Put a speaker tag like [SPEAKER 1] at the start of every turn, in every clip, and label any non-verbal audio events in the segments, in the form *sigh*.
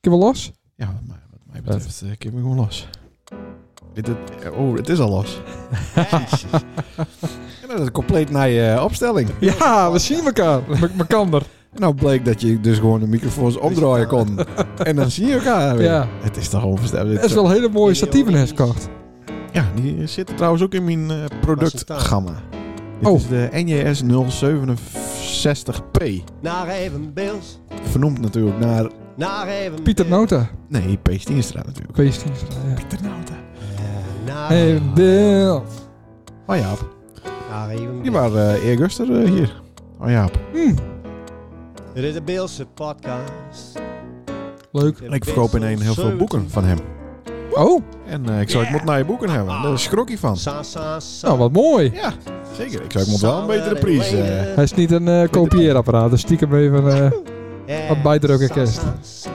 [SPEAKER 1] je wel los?
[SPEAKER 2] Ja, maar wat mij betreft, eh, ik heb me gewoon los. Dit- dit- oh, het is al los. en dat is een compleet nieuwe eh, opstelling.
[SPEAKER 1] Ja, we zien *laughs* elkaar. Me- Mekander.
[SPEAKER 2] En nou bleek dat je dus gewoon de microfoons omdraaien
[SPEAKER 1] *laughs*
[SPEAKER 2] kon. en dan zie je elkaar weer.
[SPEAKER 1] Ja.
[SPEAKER 2] Het is toch onvoorstelbaar.
[SPEAKER 1] Dat is wel een hele mooie statieven heeft gekocht.
[SPEAKER 2] Ja, die eh, zitten trouwens ook in mijn eh, productgamma. Dit
[SPEAKER 1] Oh.
[SPEAKER 2] is de NJS 067P.
[SPEAKER 3] Naar even Beels,
[SPEAKER 2] Vernoemd natuurlijk naar...
[SPEAKER 3] naar even
[SPEAKER 1] Pieter
[SPEAKER 3] Beels.
[SPEAKER 1] Nota.
[SPEAKER 2] Nee, P. Stienstra natuurlijk.
[SPEAKER 1] Beest. Ja.
[SPEAKER 2] Pieter Nauta.
[SPEAKER 3] Eh, naar,
[SPEAKER 1] Hey, Bill.
[SPEAKER 2] Oh Jaap.
[SPEAKER 3] naar even
[SPEAKER 2] Die
[SPEAKER 3] Beels.
[SPEAKER 2] waren eh eerguster eh, hier. Oh Jaap.
[SPEAKER 1] Hm,
[SPEAKER 3] Dit is de Beelse podcast.
[SPEAKER 1] leuk.
[SPEAKER 2] En ik verkoop in één heel veel boeken van hem.
[SPEAKER 1] Oh,
[SPEAKER 2] En eh, ik zou ik moet naar je boeken hebben. Daar schrok hij van.
[SPEAKER 3] Sa, sa, sa.
[SPEAKER 1] nou wat mooi.
[SPEAKER 2] Ja, zeker. Ik zou ik moet wel een betere prijs. eh.
[SPEAKER 1] Hij is niet een eh, kopieerapparaat, dus stiekem even... eh,
[SPEAKER 3] Eh,
[SPEAKER 1] wat bijdrage ook in
[SPEAKER 3] sa,
[SPEAKER 1] kerst.
[SPEAKER 3] sa, sa.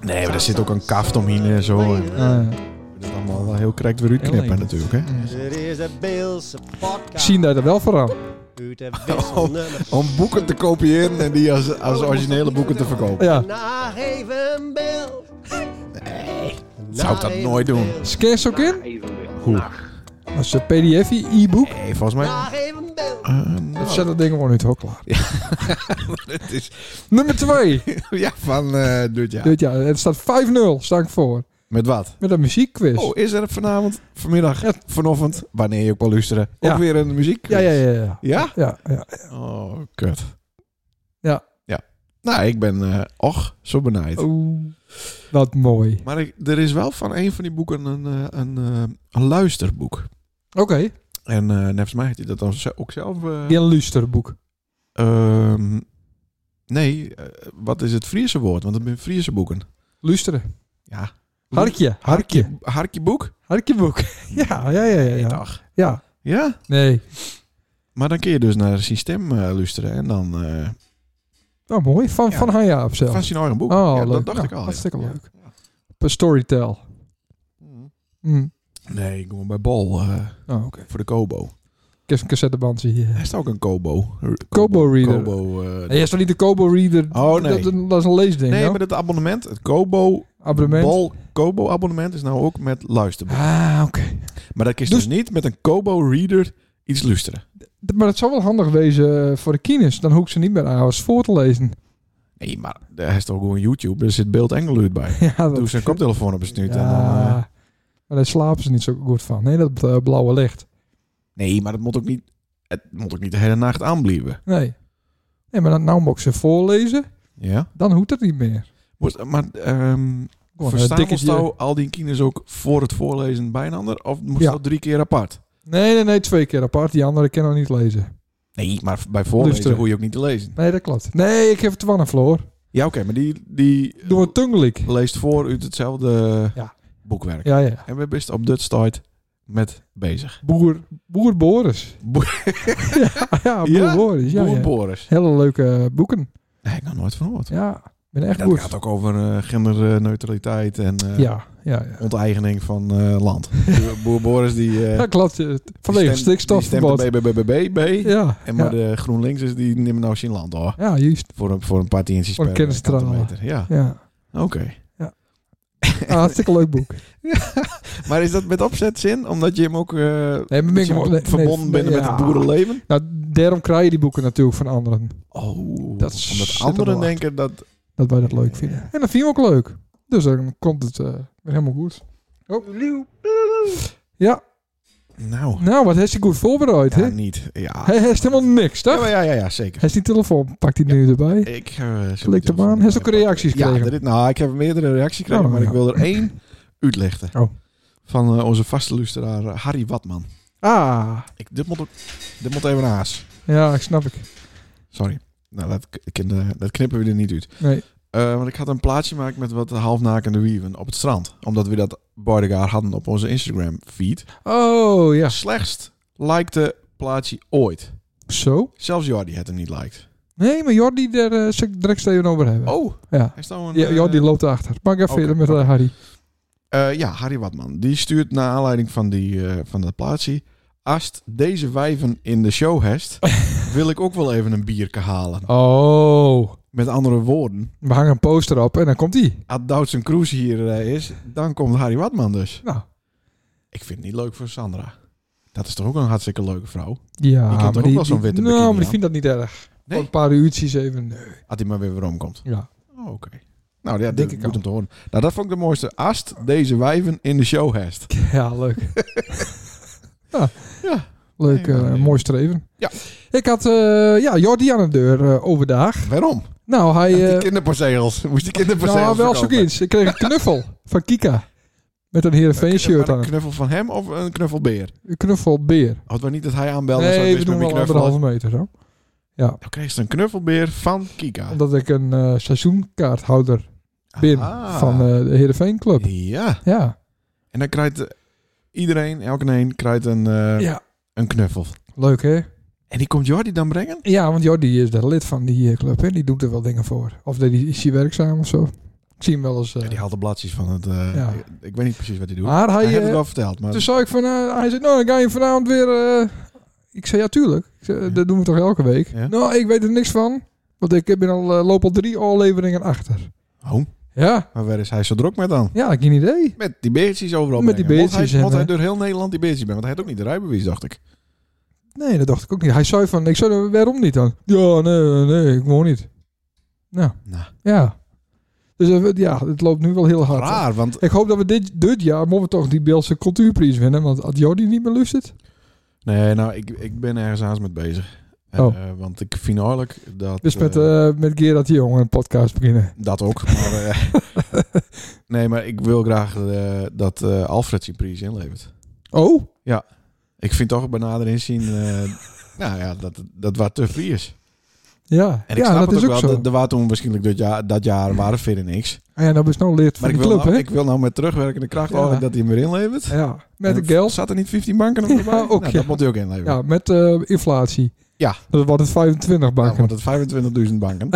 [SPEAKER 2] nee, maar er zit ook een kaft omheen en zo. En
[SPEAKER 1] eh,
[SPEAKER 2] dat is allemaal wel heel correct weer uitknippen natuurlijk. Hè.
[SPEAKER 3] Dit is de Beelse podcast.
[SPEAKER 1] zien daar er wel voor aan.
[SPEAKER 3] Uit de wisselnummer.
[SPEAKER 2] Om boeken te kopiëren en die als, Oh, als originele boeken te verkopen.
[SPEAKER 1] Ja.
[SPEAKER 3] Naar even Beels. Nee.
[SPEAKER 2] Zou ik dat nooit doen.
[SPEAKER 1] Scans ook in?
[SPEAKER 2] Hoe?
[SPEAKER 1] Dat is een pdf, e-book.
[SPEAKER 2] Nee, volgens mij...
[SPEAKER 3] Naar even Beels.
[SPEAKER 2] Eh, nou,
[SPEAKER 1] Zet dat ding gewoon uit, hoor, klaar.
[SPEAKER 2] het is,
[SPEAKER 1] Nummer *laughs* 2.
[SPEAKER 2] ja, van eh dit jaar.
[SPEAKER 1] Dit jaar, het staat 5-0, sta ik voor.
[SPEAKER 2] Met wat?
[SPEAKER 1] Met een muziekquiz.
[SPEAKER 2] Oh, is er vanavond, vanmiddag,
[SPEAKER 1] Dus- Ja.
[SPEAKER 2] vanochtend, wanneer je ook wil luisteren, ook
[SPEAKER 1] Ja.
[SPEAKER 2] weer een muziek?
[SPEAKER 1] ja, ja, ja, ja.
[SPEAKER 2] Ja?
[SPEAKER 1] Ja, ja.
[SPEAKER 2] Oh, kut.
[SPEAKER 1] Ja. Oh.
[SPEAKER 2] Ja. Nou, ik ben, eh, och, zo benaaid.
[SPEAKER 1] Oeh, wat mooi.
[SPEAKER 2] Maar ik, er is wel van een van die boeken een, eh, een, eh, een luisterboek.
[SPEAKER 1] Oké,
[SPEAKER 2] En eh volgens mij heeft hij dat dan ze- ook zelf... eh,
[SPEAKER 1] een luisterboek.
[SPEAKER 2] ehm, nee, eh, wat is het Friese woord? Want het zijn Friese boeken.
[SPEAKER 1] Luisteren.
[SPEAKER 2] Ja.
[SPEAKER 1] Harkje, harkje.
[SPEAKER 2] Harkieboek?
[SPEAKER 1] Harkjeboek. *laughs* Ja, ja, ja, ja. Ja.
[SPEAKER 2] Dag.
[SPEAKER 1] ja.
[SPEAKER 2] Ja?
[SPEAKER 1] Nee.
[SPEAKER 2] Maar dan kun je dus naar het systeem eh, luisteren en dan eh
[SPEAKER 1] Nou, mooi. Van,
[SPEAKER 2] Ja.
[SPEAKER 1] van Hanja op zelf.
[SPEAKER 2] van zijn eigen boek.
[SPEAKER 1] Oh,
[SPEAKER 2] ja,
[SPEAKER 1] leuk.
[SPEAKER 2] dat dacht
[SPEAKER 1] Ja,
[SPEAKER 2] ik al. ja.
[SPEAKER 1] hartstikke
[SPEAKER 2] Ja. Mm.
[SPEAKER 1] leuk. Per Storytel. Hm.
[SPEAKER 2] Nee, ik kom bij Bol eh,
[SPEAKER 1] Oh, oké.
[SPEAKER 2] voor de Kobo.
[SPEAKER 1] Ik heb een cassettebandje hier.
[SPEAKER 2] Er is ook een Kobo.
[SPEAKER 1] Kobo Reader.
[SPEAKER 2] Kobo, eh,
[SPEAKER 1] Nee, is toch niet de Kobo Reader?
[SPEAKER 2] Oh, nee.
[SPEAKER 1] Dat, dat is een leesding,
[SPEAKER 2] nee,
[SPEAKER 1] no?
[SPEAKER 2] maar dat abonnement, het Kobo
[SPEAKER 1] nou. Abonnement.
[SPEAKER 2] Bol Kobo abonnement is nou ook met luisterboek.
[SPEAKER 1] Ah, oké.
[SPEAKER 2] Maar dat kun je dus, niet met een Kobo Reader iets luisteren.
[SPEAKER 1] D- Maar dat zou wel handig wezen eh, voor de kines. Dan hoef ik ze niet meer aan alles voor te lezen. *laughs*
[SPEAKER 2] Nee, maar er is toch gewoon YouTube, er zit beeld Engel uit bij.
[SPEAKER 1] Ja, dat
[SPEAKER 2] Doe ze een koptelefoon op een snuit en dan...
[SPEAKER 1] Ja.
[SPEAKER 2] eh,
[SPEAKER 1] maar daar slapen ze niet zo goed van. Nee, dat eh, blauwe licht.
[SPEAKER 2] nee, maar dat moet ook niet, het moet ook niet de hele nacht aanblijven.
[SPEAKER 1] Nee. Nee, maar dan nou moet ik ze voorlezen.
[SPEAKER 2] Ja?
[SPEAKER 1] Dan hoeft het niet meer.
[SPEAKER 2] Wordt- Maar ehm,
[SPEAKER 1] Gewoon een
[SPEAKER 2] Verstaan
[SPEAKER 1] dikke
[SPEAKER 2] ons nou al die kines ook voor het voorlezen bij een ander? Of moest
[SPEAKER 1] Ja.
[SPEAKER 2] dat drie keer apart?
[SPEAKER 1] Nee, nee, nee. Twee keer apart. Die andere kan nog niet lezen.
[SPEAKER 2] Nee, maar bij voorlezen
[SPEAKER 1] Luisteren.
[SPEAKER 2] hoef je ook niet te lezen.
[SPEAKER 1] Nee, dat klopt. Nee, ik heb het aan Floor.
[SPEAKER 2] Ja, oké, maar die, die
[SPEAKER 1] Doe een tongelijk.
[SPEAKER 2] leest voor uit hetzelfde
[SPEAKER 1] Ja.
[SPEAKER 2] boekwerk.
[SPEAKER 1] Ja, ja.
[SPEAKER 2] En we zijn best op dit tijd met bezig.
[SPEAKER 1] Boer, boer Boris.
[SPEAKER 2] Boer,
[SPEAKER 1] *laughs* ja, ja, boer
[SPEAKER 2] Ja?
[SPEAKER 1] Boris. Ja,
[SPEAKER 2] Boer
[SPEAKER 1] ja.
[SPEAKER 2] Boris.
[SPEAKER 1] Hele leuke boeken.
[SPEAKER 2] Nee, ik heb nog nooit van gehoord.
[SPEAKER 1] Ja, ik ben echt
[SPEAKER 2] Dat
[SPEAKER 1] goed.
[SPEAKER 2] gaat ook over eh, genderneutraliteit en eh,
[SPEAKER 1] Ja, ja, ja.
[SPEAKER 2] onteigening van eh,
[SPEAKER 1] *laughs*
[SPEAKER 2] land. Boer, Boer Boris die... eh
[SPEAKER 1] Ja, klopt. eh, Vanwege
[SPEAKER 2] die stemt- die stemt
[SPEAKER 1] stikstofverbod.
[SPEAKER 2] de BBBB.
[SPEAKER 1] Ja,
[SPEAKER 2] En
[SPEAKER 1] ja.
[SPEAKER 2] maar de GroenLinks is die nemen nou zijn land hoor.
[SPEAKER 1] ja, juist.
[SPEAKER 2] Voor een, voor een paar tientjes
[SPEAKER 1] Voor een
[SPEAKER 2] per
[SPEAKER 1] kennisstralen.
[SPEAKER 2] kantometer. Ja,
[SPEAKER 1] Ja.
[SPEAKER 2] oké.
[SPEAKER 1] Ah, hartstikke
[SPEAKER 2] *laughs*
[SPEAKER 1] leuk boek.
[SPEAKER 2] Maar is dat met opzet zin? Omdat je hem ook eh,
[SPEAKER 1] Nee, maar
[SPEAKER 2] dat
[SPEAKER 1] ben
[SPEAKER 2] je hem
[SPEAKER 1] nee,
[SPEAKER 2] verbonden
[SPEAKER 1] nee,
[SPEAKER 2] bent met
[SPEAKER 1] ja.
[SPEAKER 2] het boerenleven?
[SPEAKER 1] Nou, daarom krijg je die boeken natuurlijk van anderen.
[SPEAKER 2] Oh,
[SPEAKER 1] Dat is-
[SPEAKER 2] omdat
[SPEAKER 1] zit er
[SPEAKER 2] anderen
[SPEAKER 1] wel
[SPEAKER 2] denken dat...
[SPEAKER 1] Dat wij dat leuk vinden. En dat vinden we ook leuk. Dus dan komt het eh, weer helemaal goed. Oh. Ja,
[SPEAKER 2] Nou,
[SPEAKER 1] nou, wat heeft hij goed voorbereid, hè?
[SPEAKER 2] ja, niet. Ja.
[SPEAKER 1] Hij heeft helemaal niks, toch?
[SPEAKER 2] Ja, maar ja, ja, ja, zeker.
[SPEAKER 1] Hij is die telefoon, pakt hij nu erbij.
[SPEAKER 2] Ik eh, zo
[SPEAKER 1] Klik hem
[SPEAKER 2] meteen
[SPEAKER 1] aan.
[SPEAKER 2] even-
[SPEAKER 1] Heeft ook reacties
[SPEAKER 2] Ja,
[SPEAKER 1] gekregen.
[SPEAKER 2] er is- nou, ik heb meerdere reacties gekregen,
[SPEAKER 1] Oh,
[SPEAKER 2] maar
[SPEAKER 1] ja.
[SPEAKER 2] ik wil er één uitlichten.
[SPEAKER 1] Oh.
[SPEAKER 2] Van eh, onze vaste luisteraar eh, Harry Watman.
[SPEAKER 1] Ah,
[SPEAKER 2] Ik, dit, moet ook, dit moet even naast.
[SPEAKER 1] ja, ik snap ik.
[SPEAKER 2] Sorry. Nou, dat, k- ik- eh, dat knippen we er niet uit.
[SPEAKER 1] Nee.
[SPEAKER 2] Eh, want ik had een plaatje gemaakt met wat halfnakende wieven op het strand. Omdat we dat Boidegaar hadden op onze Instagram feed.
[SPEAKER 1] Oh, ja.
[SPEAKER 2] Slechtst likte plaatje ooit.
[SPEAKER 1] Zo.
[SPEAKER 2] Zelfs Jordi had hem niet liked.
[SPEAKER 1] Nee, maar Jordi, daar eh, zal ik direct even over hebben.
[SPEAKER 2] Oh,
[SPEAKER 1] Ja.
[SPEAKER 2] hij is nou een...
[SPEAKER 1] Ja,
[SPEAKER 2] eh,
[SPEAKER 1] Jordi loopt achter. Maar ik ga
[SPEAKER 2] Oké,
[SPEAKER 1] verder met eh,
[SPEAKER 2] oké.
[SPEAKER 1] Harry.
[SPEAKER 2] eh, ja, Harry Watman. Die stuurt naar aanleiding van, die, eh, van eh, dat plaatje. als deze wijven in de show
[SPEAKER 1] *laughs*
[SPEAKER 2] hebt, wil ik ook wel even een bierke halen.
[SPEAKER 1] Oh,
[SPEAKER 2] Met andere woorden,
[SPEAKER 1] we hangen een poster op en dan komt die.
[SPEAKER 2] als Doutzen Kroes hier eh, is, dan komt Harry Watman dus.
[SPEAKER 1] Nou,
[SPEAKER 2] Ik vind het niet leuk voor Sandra. Dat is toch ook een hartstikke leuke vrouw?
[SPEAKER 1] ja.
[SPEAKER 2] Je kent toch ook wel zo'n witte
[SPEAKER 1] Nou,
[SPEAKER 2] bikini
[SPEAKER 1] maar ik
[SPEAKER 2] aan?
[SPEAKER 1] vind dat niet erg.
[SPEAKER 2] Nee.
[SPEAKER 1] Voor een paar uurtjes even. Nee.
[SPEAKER 2] Als die maar weer weer omkomt.
[SPEAKER 1] Ja.
[SPEAKER 2] Oh, Oké. Nou ja,
[SPEAKER 1] Denk
[SPEAKER 2] denk ik
[SPEAKER 1] ik
[SPEAKER 2] goed
[SPEAKER 1] al.
[SPEAKER 2] om te horen. Nou, dat vond ik de mooiste. Ast deze wijven in de show heeft.
[SPEAKER 1] ja, leuk.
[SPEAKER 2] *laughs* Ah, Ja.
[SPEAKER 1] Leuk,
[SPEAKER 2] Nee, maar
[SPEAKER 1] eh,
[SPEAKER 2] nee.
[SPEAKER 1] mooi streven.
[SPEAKER 2] Ja.
[SPEAKER 1] Ik had eh, ja, Jordi aan de deur eh, overdag.
[SPEAKER 2] Waarom?
[SPEAKER 1] Nou, hij... eh,
[SPEAKER 2] die kinderperceels. Moest die kinderperceels
[SPEAKER 1] nou, wel zo'n
[SPEAKER 2] verkopen.
[SPEAKER 1] iets. Ik kreeg een knuffel van Kika. Met een Heerenveen shirt
[SPEAKER 2] Maar
[SPEAKER 1] aan.
[SPEAKER 2] Een knuffel van hem of een knuffelbeer?
[SPEAKER 1] Een knuffelbeer.
[SPEAKER 2] Had we niet dat hij aanbelde? en zei,
[SPEAKER 1] Nee,
[SPEAKER 2] "Wist
[SPEAKER 1] we
[SPEAKER 2] met
[SPEAKER 1] doen
[SPEAKER 2] wie
[SPEAKER 1] wel
[SPEAKER 2] knuffelen?"
[SPEAKER 1] anderhalve meter zo.
[SPEAKER 2] Dan kreeg ze een knuffelbeer van Kika.
[SPEAKER 1] Omdat ik een eh, seizoenkaarthouder ben
[SPEAKER 2] Ah.
[SPEAKER 1] van eh, de Heerenveen Club.
[SPEAKER 2] Ja.
[SPEAKER 1] Ja.
[SPEAKER 2] En dan krijgt eh, iedereen, elke een, krijgt een, eh,
[SPEAKER 1] ja,
[SPEAKER 2] een knuffel.
[SPEAKER 1] leuk hè?
[SPEAKER 2] En die komt Jordi dan brengen?
[SPEAKER 1] Ja, want Jordi is de lid van die eh, club en die doet er wel dingen voor. Of die is hij werkzaam of zo. Ik zie hem wel eens. eh,
[SPEAKER 2] Ja, die haalt de bladjes van het... eh,
[SPEAKER 1] Ja.
[SPEAKER 2] ik, ik weet niet precies wat hij doet.
[SPEAKER 1] Maar hij,
[SPEAKER 2] hij heeft
[SPEAKER 1] eh,
[SPEAKER 2] het wel verteld, maar...
[SPEAKER 1] toen zei ik van, eh, hij zei, nou dan ga je vanavond weer. eh." ik zei, ja tuurlijk, Ik zei,
[SPEAKER 2] Ja.
[SPEAKER 1] dat doen we toch elke week.
[SPEAKER 2] Ja.
[SPEAKER 1] Nou, ik weet er niks van, want ik ben al, eh, loop al drie afleveringen achter.
[SPEAKER 2] Oh,
[SPEAKER 1] Ja,
[SPEAKER 2] maar waar is hij zo druk met dan?
[SPEAKER 1] ja, ik geen idee.
[SPEAKER 2] Met die beertjes overal
[SPEAKER 1] Met die
[SPEAKER 2] brengen. Moet
[SPEAKER 1] beertjes
[SPEAKER 2] hij,
[SPEAKER 1] en,
[SPEAKER 2] moet hij
[SPEAKER 1] eh,
[SPEAKER 2] door heel Nederland die beertjes brengen? Want hij had ook niet de rijbewijs, dacht ik.
[SPEAKER 1] Nee, dat dacht ik ook niet. Hij zei van, ik zei, "Nou, waarom niet dan? Ja, nee, nee, ik woon niet. Nou,
[SPEAKER 2] Nou.
[SPEAKER 1] ja. Dus eh, ja, het loopt nu wel heel hard.
[SPEAKER 2] Raar, want...
[SPEAKER 1] Ik hoop dat we dit, dit jaar moeten we toch die Beelse cultuurprijs winnen. Want had Jordi niet meer luistert.
[SPEAKER 2] Nee, nou, ik, ik ben ergens aan met bezig. Eh,
[SPEAKER 1] Oh.
[SPEAKER 2] eh, want ik vind eigenlijk dat...
[SPEAKER 1] Dus met,
[SPEAKER 2] eh,
[SPEAKER 1] eh met Gerard de Jong een podcast beginnen.
[SPEAKER 2] Dat ook. Maar,
[SPEAKER 1] *laughs*
[SPEAKER 2] eh, nee, maar ik wil graag eh, dat eh, Alfred zijn prijs inlevert.
[SPEAKER 1] Oh?
[SPEAKER 2] Ik vind toch bij nader inzien...
[SPEAKER 1] *laughs*
[SPEAKER 2] eh, nou ja, dat, dat waar te free is.
[SPEAKER 1] Ja,
[SPEAKER 2] En ik
[SPEAKER 1] ja
[SPEAKER 2] snap
[SPEAKER 1] dat
[SPEAKER 2] het
[SPEAKER 1] is ook
[SPEAKER 2] ook
[SPEAKER 1] zo.
[SPEAKER 2] wel. Er- Er waren toen waarschijnlijk dat jaar, dat jaar waren verder niks.
[SPEAKER 1] Ah ja, nou is nou leert van
[SPEAKER 2] Maar
[SPEAKER 1] de
[SPEAKER 2] ik wil,
[SPEAKER 1] club,
[SPEAKER 2] nou,
[SPEAKER 1] hè?
[SPEAKER 2] ik wil nou met terugwerkende kracht
[SPEAKER 1] Ja.
[SPEAKER 2] eigenlijk dat hij hem weer inlevert.
[SPEAKER 1] Ja, met
[SPEAKER 2] En
[SPEAKER 1] de geld.
[SPEAKER 2] Zat er niet 15 banken op erbij?
[SPEAKER 1] *laughs* Ja, ook,
[SPEAKER 2] nou,
[SPEAKER 1] ja.
[SPEAKER 2] Dat moet hij ook inleveren.
[SPEAKER 1] Ja, met eh, inflatie.
[SPEAKER 2] Ja.
[SPEAKER 1] Dat wordt het 25
[SPEAKER 2] Dan
[SPEAKER 1] banken.
[SPEAKER 2] wordt Nou, het 25.000 banken.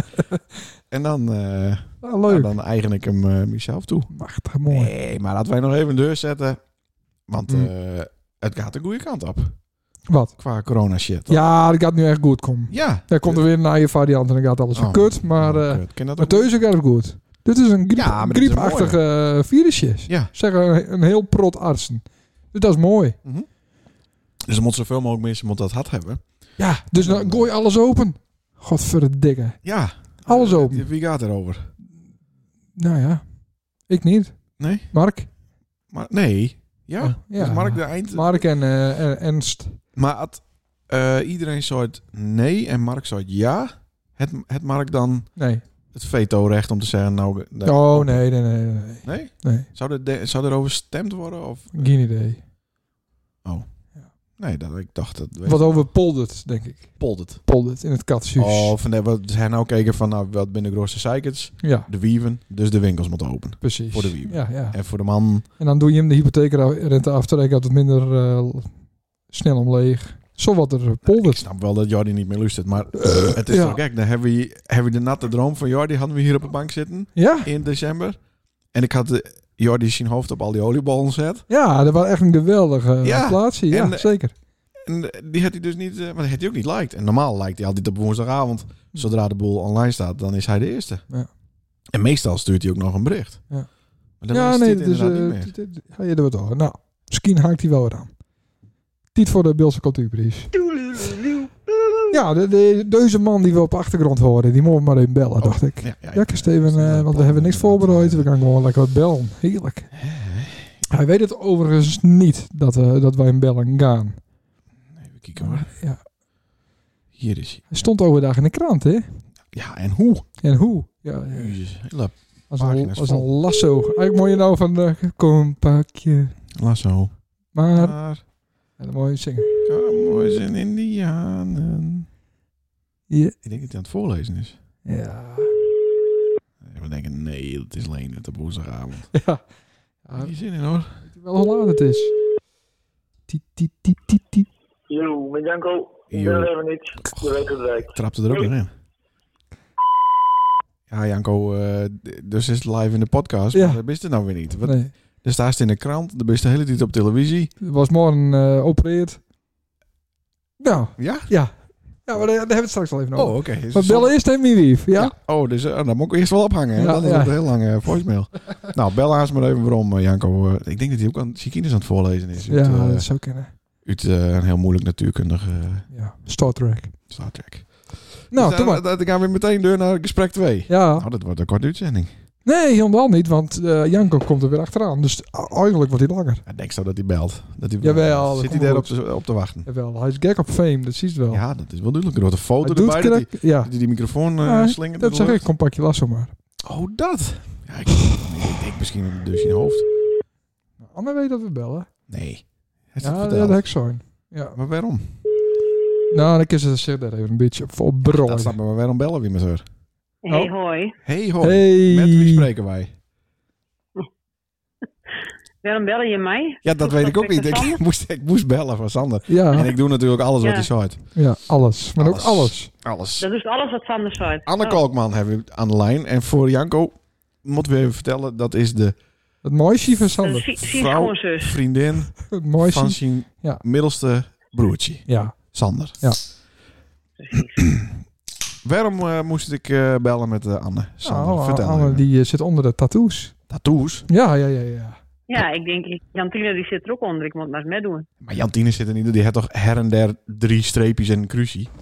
[SPEAKER 1] *laughs*
[SPEAKER 2] en dan, eh,
[SPEAKER 1] Ah,
[SPEAKER 2] nou,
[SPEAKER 1] leuk.
[SPEAKER 2] dan eigen ik hem eh mezelf toe.
[SPEAKER 1] Machtig mooi.
[SPEAKER 2] Nee, maar laten wij nog even een deur zetten. Want
[SPEAKER 1] Mm.
[SPEAKER 2] eh, het gaat de goede kant op.
[SPEAKER 1] Wat?
[SPEAKER 2] Qua corona shit.
[SPEAKER 1] Ja, dat gaat nu echt goed komen.
[SPEAKER 2] Ja.
[SPEAKER 1] Daar komt er weer een nieuwe variant en dan gaat alles
[SPEAKER 2] Oh.
[SPEAKER 1] weer kut. Maar
[SPEAKER 2] Oh,
[SPEAKER 1] eh
[SPEAKER 2] kut. Ken dat
[SPEAKER 1] met
[SPEAKER 2] ook?
[SPEAKER 1] deze gaat het goed. Dit is een griep,
[SPEAKER 2] Ja, maar dit is een
[SPEAKER 1] griepachtige eh, virusje.
[SPEAKER 2] Ja.
[SPEAKER 1] Zeggen een, een heel prot artsen. Dus dat is mooi.
[SPEAKER 2] Mhm. Dus er moet zoveel mogelijk mensen moet dat had hebben.
[SPEAKER 1] Ja, dus dan gooi alles open. Godverdikke.
[SPEAKER 2] Ja.
[SPEAKER 1] Alles
[SPEAKER 2] Eh,
[SPEAKER 1] open.
[SPEAKER 2] Wie gaat erover?
[SPEAKER 1] Nou ja, ik niet.
[SPEAKER 2] Nee?
[SPEAKER 1] Mark?
[SPEAKER 2] Maar, nee. Ja.
[SPEAKER 1] Ah, ja.
[SPEAKER 2] Dus Mark de Eind...
[SPEAKER 1] Mark en eh, en Ernst.
[SPEAKER 2] Maar had, eh, iedereen zei het nee en Mark zei het ja. Het, het Mark dan
[SPEAKER 1] Nee.
[SPEAKER 2] het veto-recht om te zeggen... Nou,
[SPEAKER 1] Oh, nee, nee, nee, nee, nee.
[SPEAKER 2] Nee?
[SPEAKER 1] Nee,
[SPEAKER 2] Zou, er de, zou erover gestemd worden? Of?
[SPEAKER 1] geen idee.
[SPEAKER 2] Nee, dat, ik dacht dat...
[SPEAKER 1] Wat over poldert, denk ik.
[SPEAKER 2] poldert?
[SPEAKER 1] Poldert in het katshuis.
[SPEAKER 2] Oh, van de, we zijn nou keken van nou, wat binnen de grootste zeikers?
[SPEAKER 1] Ja,
[SPEAKER 2] De wieven, dus de winkels moeten open.
[SPEAKER 1] precies.
[SPEAKER 2] Voor de wielen.
[SPEAKER 1] Ja, ja.
[SPEAKER 2] En voor de man,
[SPEAKER 1] En dan doe je hem de hypotheekrente aftrekken dat het minder eh, snel omleeg. Zo wat er eh,
[SPEAKER 2] ik
[SPEAKER 1] poldert.
[SPEAKER 2] snap wel dat Jordi niet meer luistert, maar het is
[SPEAKER 1] Eh, ja.
[SPEAKER 2] toch gek. Dan hebben we, hebben we de natte droom van Jordi, hadden we hier op de bank zitten
[SPEAKER 1] Ja,
[SPEAKER 2] in december. En ik had de, Jordi zijn hoofd op al die oliebollen zet.
[SPEAKER 1] ja, dat was echt een geweldige eh,
[SPEAKER 2] Ja,
[SPEAKER 1] plaatsie. Ja,
[SPEAKER 2] en, eh,
[SPEAKER 1] zeker.
[SPEAKER 2] En eh, die had hij dus niet, eh, maar die had hij ook niet liked. En normaal lijkt hij altijd op woensdagavond. Zodra de boel online staat, dan is hij de eerste.
[SPEAKER 1] Hm. Ja.
[SPEAKER 2] En meestal stuurt hij ook nog een bericht.
[SPEAKER 1] Ja.
[SPEAKER 2] Maar dan
[SPEAKER 1] Ja,
[SPEAKER 2] is
[SPEAKER 1] nee,
[SPEAKER 2] dit
[SPEAKER 1] dus
[SPEAKER 2] inderdaad
[SPEAKER 1] eh,
[SPEAKER 2] niet meer.
[SPEAKER 1] dit- dit- ga je er wat over. Nou, misschien haakt hij wel weer aan. Tiet voor de Beelse cultuurprijs. Ja, de, de, deze man die we op de achtergrond horen, die mogen maar even bellen,
[SPEAKER 2] Oh,
[SPEAKER 1] dacht ik.
[SPEAKER 2] Ja, ja,
[SPEAKER 1] Ja,
[SPEAKER 2] ik-
[SPEAKER 1] Steven, eh, want we hebben niks voorbereid. We gaan gewoon lekker wat bellen. Heerlijk. Hij weet het overigens niet dat, eh, dat wij hem bellen gaan.
[SPEAKER 2] Even kijken hoor.
[SPEAKER 1] Ja.
[SPEAKER 2] Hier is hij.
[SPEAKER 1] Hij stond overdag in de krant, hè?
[SPEAKER 2] Ja, en hoe?
[SPEAKER 1] En hoe? Ja, ja.
[SPEAKER 2] Jezus, hele
[SPEAKER 1] Als een,
[SPEAKER 2] Pagina's
[SPEAKER 1] als
[SPEAKER 2] vol.
[SPEAKER 1] een lasso. Eigenlijk moet je nou van... eh, kom, pak je
[SPEAKER 2] lasso.
[SPEAKER 1] maar...
[SPEAKER 2] Maar
[SPEAKER 1] En dan moet je zingen.
[SPEAKER 2] cowboys en indianen.
[SPEAKER 1] Ja.
[SPEAKER 2] Ik denk dat hij aan het voorlezen is.
[SPEAKER 1] Ja.
[SPEAKER 2] En we denken, nee, het is alleen het op woensdagavond.
[SPEAKER 1] ja.
[SPEAKER 2] Heb je zin in hoor.
[SPEAKER 1] weet wel hoe laat het is. Tiet, tiet, tiet, tiet, tiet.
[SPEAKER 4] Jo, met Janko. Ik
[SPEAKER 2] Jo.
[SPEAKER 4] ben er even niet. Je weet het
[SPEAKER 2] Ik
[SPEAKER 4] werkt.
[SPEAKER 2] trapte er ook nog in. Ja, Janko, eh, d- dus is het live in de podcast.
[SPEAKER 1] Ja.
[SPEAKER 2] Maar dat is het nou weer niet. Wat,
[SPEAKER 1] Nee.
[SPEAKER 2] Er staat in de krant, er is de hele tijd op televisie.
[SPEAKER 1] Het was morgen eh opereerd. Nou,
[SPEAKER 2] Ja?
[SPEAKER 1] ja. Ja, maar daar, daar hebben we het straks al even over.
[SPEAKER 2] Oh, oké. Is
[SPEAKER 1] maar
[SPEAKER 2] het zo-
[SPEAKER 1] bellen eerst even Wief, ja?
[SPEAKER 2] Ja. Oh, dus eh, dan moet ik eerst wel ophangen. hè?
[SPEAKER 1] Ja,
[SPEAKER 2] dan is
[SPEAKER 1] ja.
[SPEAKER 2] het een heel lange eh,
[SPEAKER 1] *laughs*
[SPEAKER 2] voicemail. nou, bel haast maar even waarom, eh, Janko. Eh, ik denk dat hij ook aan Chiquines aan het voorlezen is.
[SPEAKER 1] Ja,
[SPEAKER 2] Uit, eh,
[SPEAKER 1] dat zou kennen.
[SPEAKER 2] uit, eh, een heel moeilijk natuurkundige eh,
[SPEAKER 1] Ja, Star Trek.
[SPEAKER 2] Star Trek.
[SPEAKER 1] Nou,
[SPEAKER 2] dus,
[SPEAKER 1] toch
[SPEAKER 2] eh,
[SPEAKER 1] maar.
[SPEAKER 2] dan, gaan we meteen door naar gesprek 2.
[SPEAKER 1] Ja.
[SPEAKER 2] Nou, dat wordt een korte uitzending.
[SPEAKER 1] Nee, helemaal niet, want eh, Janko komt er weer achteraan. Dus eigenlijk wordt hij langer.
[SPEAKER 2] Ik denk zo dat hij belt. Dat hij eh,
[SPEAKER 1] Jawel, dat
[SPEAKER 2] Zit hij
[SPEAKER 1] komt
[SPEAKER 2] daar op
[SPEAKER 1] goed.
[SPEAKER 2] te, op te wachten?
[SPEAKER 1] Jawel, hij is gek op fame, dat zie je het wel.
[SPEAKER 2] Ja, dat is wel duidelijk. Er wordt een foto
[SPEAKER 1] Hij doet
[SPEAKER 2] erbij. dat Die,
[SPEAKER 1] krak- ja,
[SPEAKER 2] die die microfoon eh
[SPEAKER 1] Ja,
[SPEAKER 2] slingert.
[SPEAKER 1] dat zeg ik, kom pak je lasso maar.
[SPEAKER 2] Oh, dat. Ja, ik, ik denk misschien een dus in je hoofd.
[SPEAKER 1] Anne weet dat we bellen.
[SPEAKER 2] Nee. Heeft hij
[SPEAKER 1] Ja,
[SPEAKER 2] het
[SPEAKER 1] dat
[SPEAKER 2] verteld?
[SPEAKER 1] hek zijn. Ja.
[SPEAKER 2] Maar waarom?
[SPEAKER 1] Nou, dan kunnen ze zich daar even een beetje op- op
[SPEAKER 2] Dat
[SPEAKER 1] brooien.
[SPEAKER 2] staat me maar waarom bellen we met haar?
[SPEAKER 5] Hey,
[SPEAKER 1] Oh.
[SPEAKER 5] hoi.
[SPEAKER 2] Hey hoi,
[SPEAKER 1] Hey.
[SPEAKER 2] met wie spreken wij?
[SPEAKER 5] Waarom bellen je mij?
[SPEAKER 2] Ja, dat
[SPEAKER 5] Is
[SPEAKER 2] weet
[SPEAKER 5] dat
[SPEAKER 2] ik ook niet.
[SPEAKER 5] met
[SPEAKER 2] Ik
[SPEAKER 5] Sander?
[SPEAKER 2] *laughs* moest, ik moest bellen van Sander. En
[SPEAKER 1] Ja,
[SPEAKER 2] ik doe natuurlijk alles
[SPEAKER 5] Ja.
[SPEAKER 2] wat hij zegt.
[SPEAKER 1] ja, alles. Maar
[SPEAKER 2] Alles.
[SPEAKER 1] ook alles.
[SPEAKER 2] Alles.
[SPEAKER 5] Dat Oh. is alles wat Sander zei.
[SPEAKER 2] Anne Kalkman hebben we aan de lijn. En voor Janko moeten we even vertellen, dat is de
[SPEAKER 1] Het mooiste van
[SPEAKER 5] Oh,
[SPEAKER 1] Sander.
[SPEAKER 5] zie- zie je
[SPEAKER 2] Vrouw.
[SPEAKER 5] schoonzus.
[SPEAKER 2] vriendin
[SPEAKER 1] Het
[SPEAKER 2] van
[SPEAKER 1] mooiste.
[SPEAKER 2] zijn
[SPEAKER 1] Ja.
[SPEAKER 2] middelste broertje,
[SPEAKER 1] Ja.
[SPEAKER 2] Sander.
[SPEAKER 1] Ja.
[SPEAKER 2] *clears throat* Waarom eh, moest ik eh, bellen met eh, Anne? Sander,
[SPEAKER 1] Nou,
[SPEAKER 2] vertel
[SPEAKER 1] Anne
[SPEAKER 2] even.
[SPEAKER 1] die eh, zit onder de tattoos.
[SPEAKER 2] Tattoos?
[SPEAKER 1] Ja, ja, ja, ja.
[SPEAKER 5] Ja, ik denk, Jantina die zit er ook onder. Ik moet maar eens meedoen.
[SPEAKER 2] Maar Jantine zit er niet in. Die heeft toch her en der drie streepjes en een crucie? Die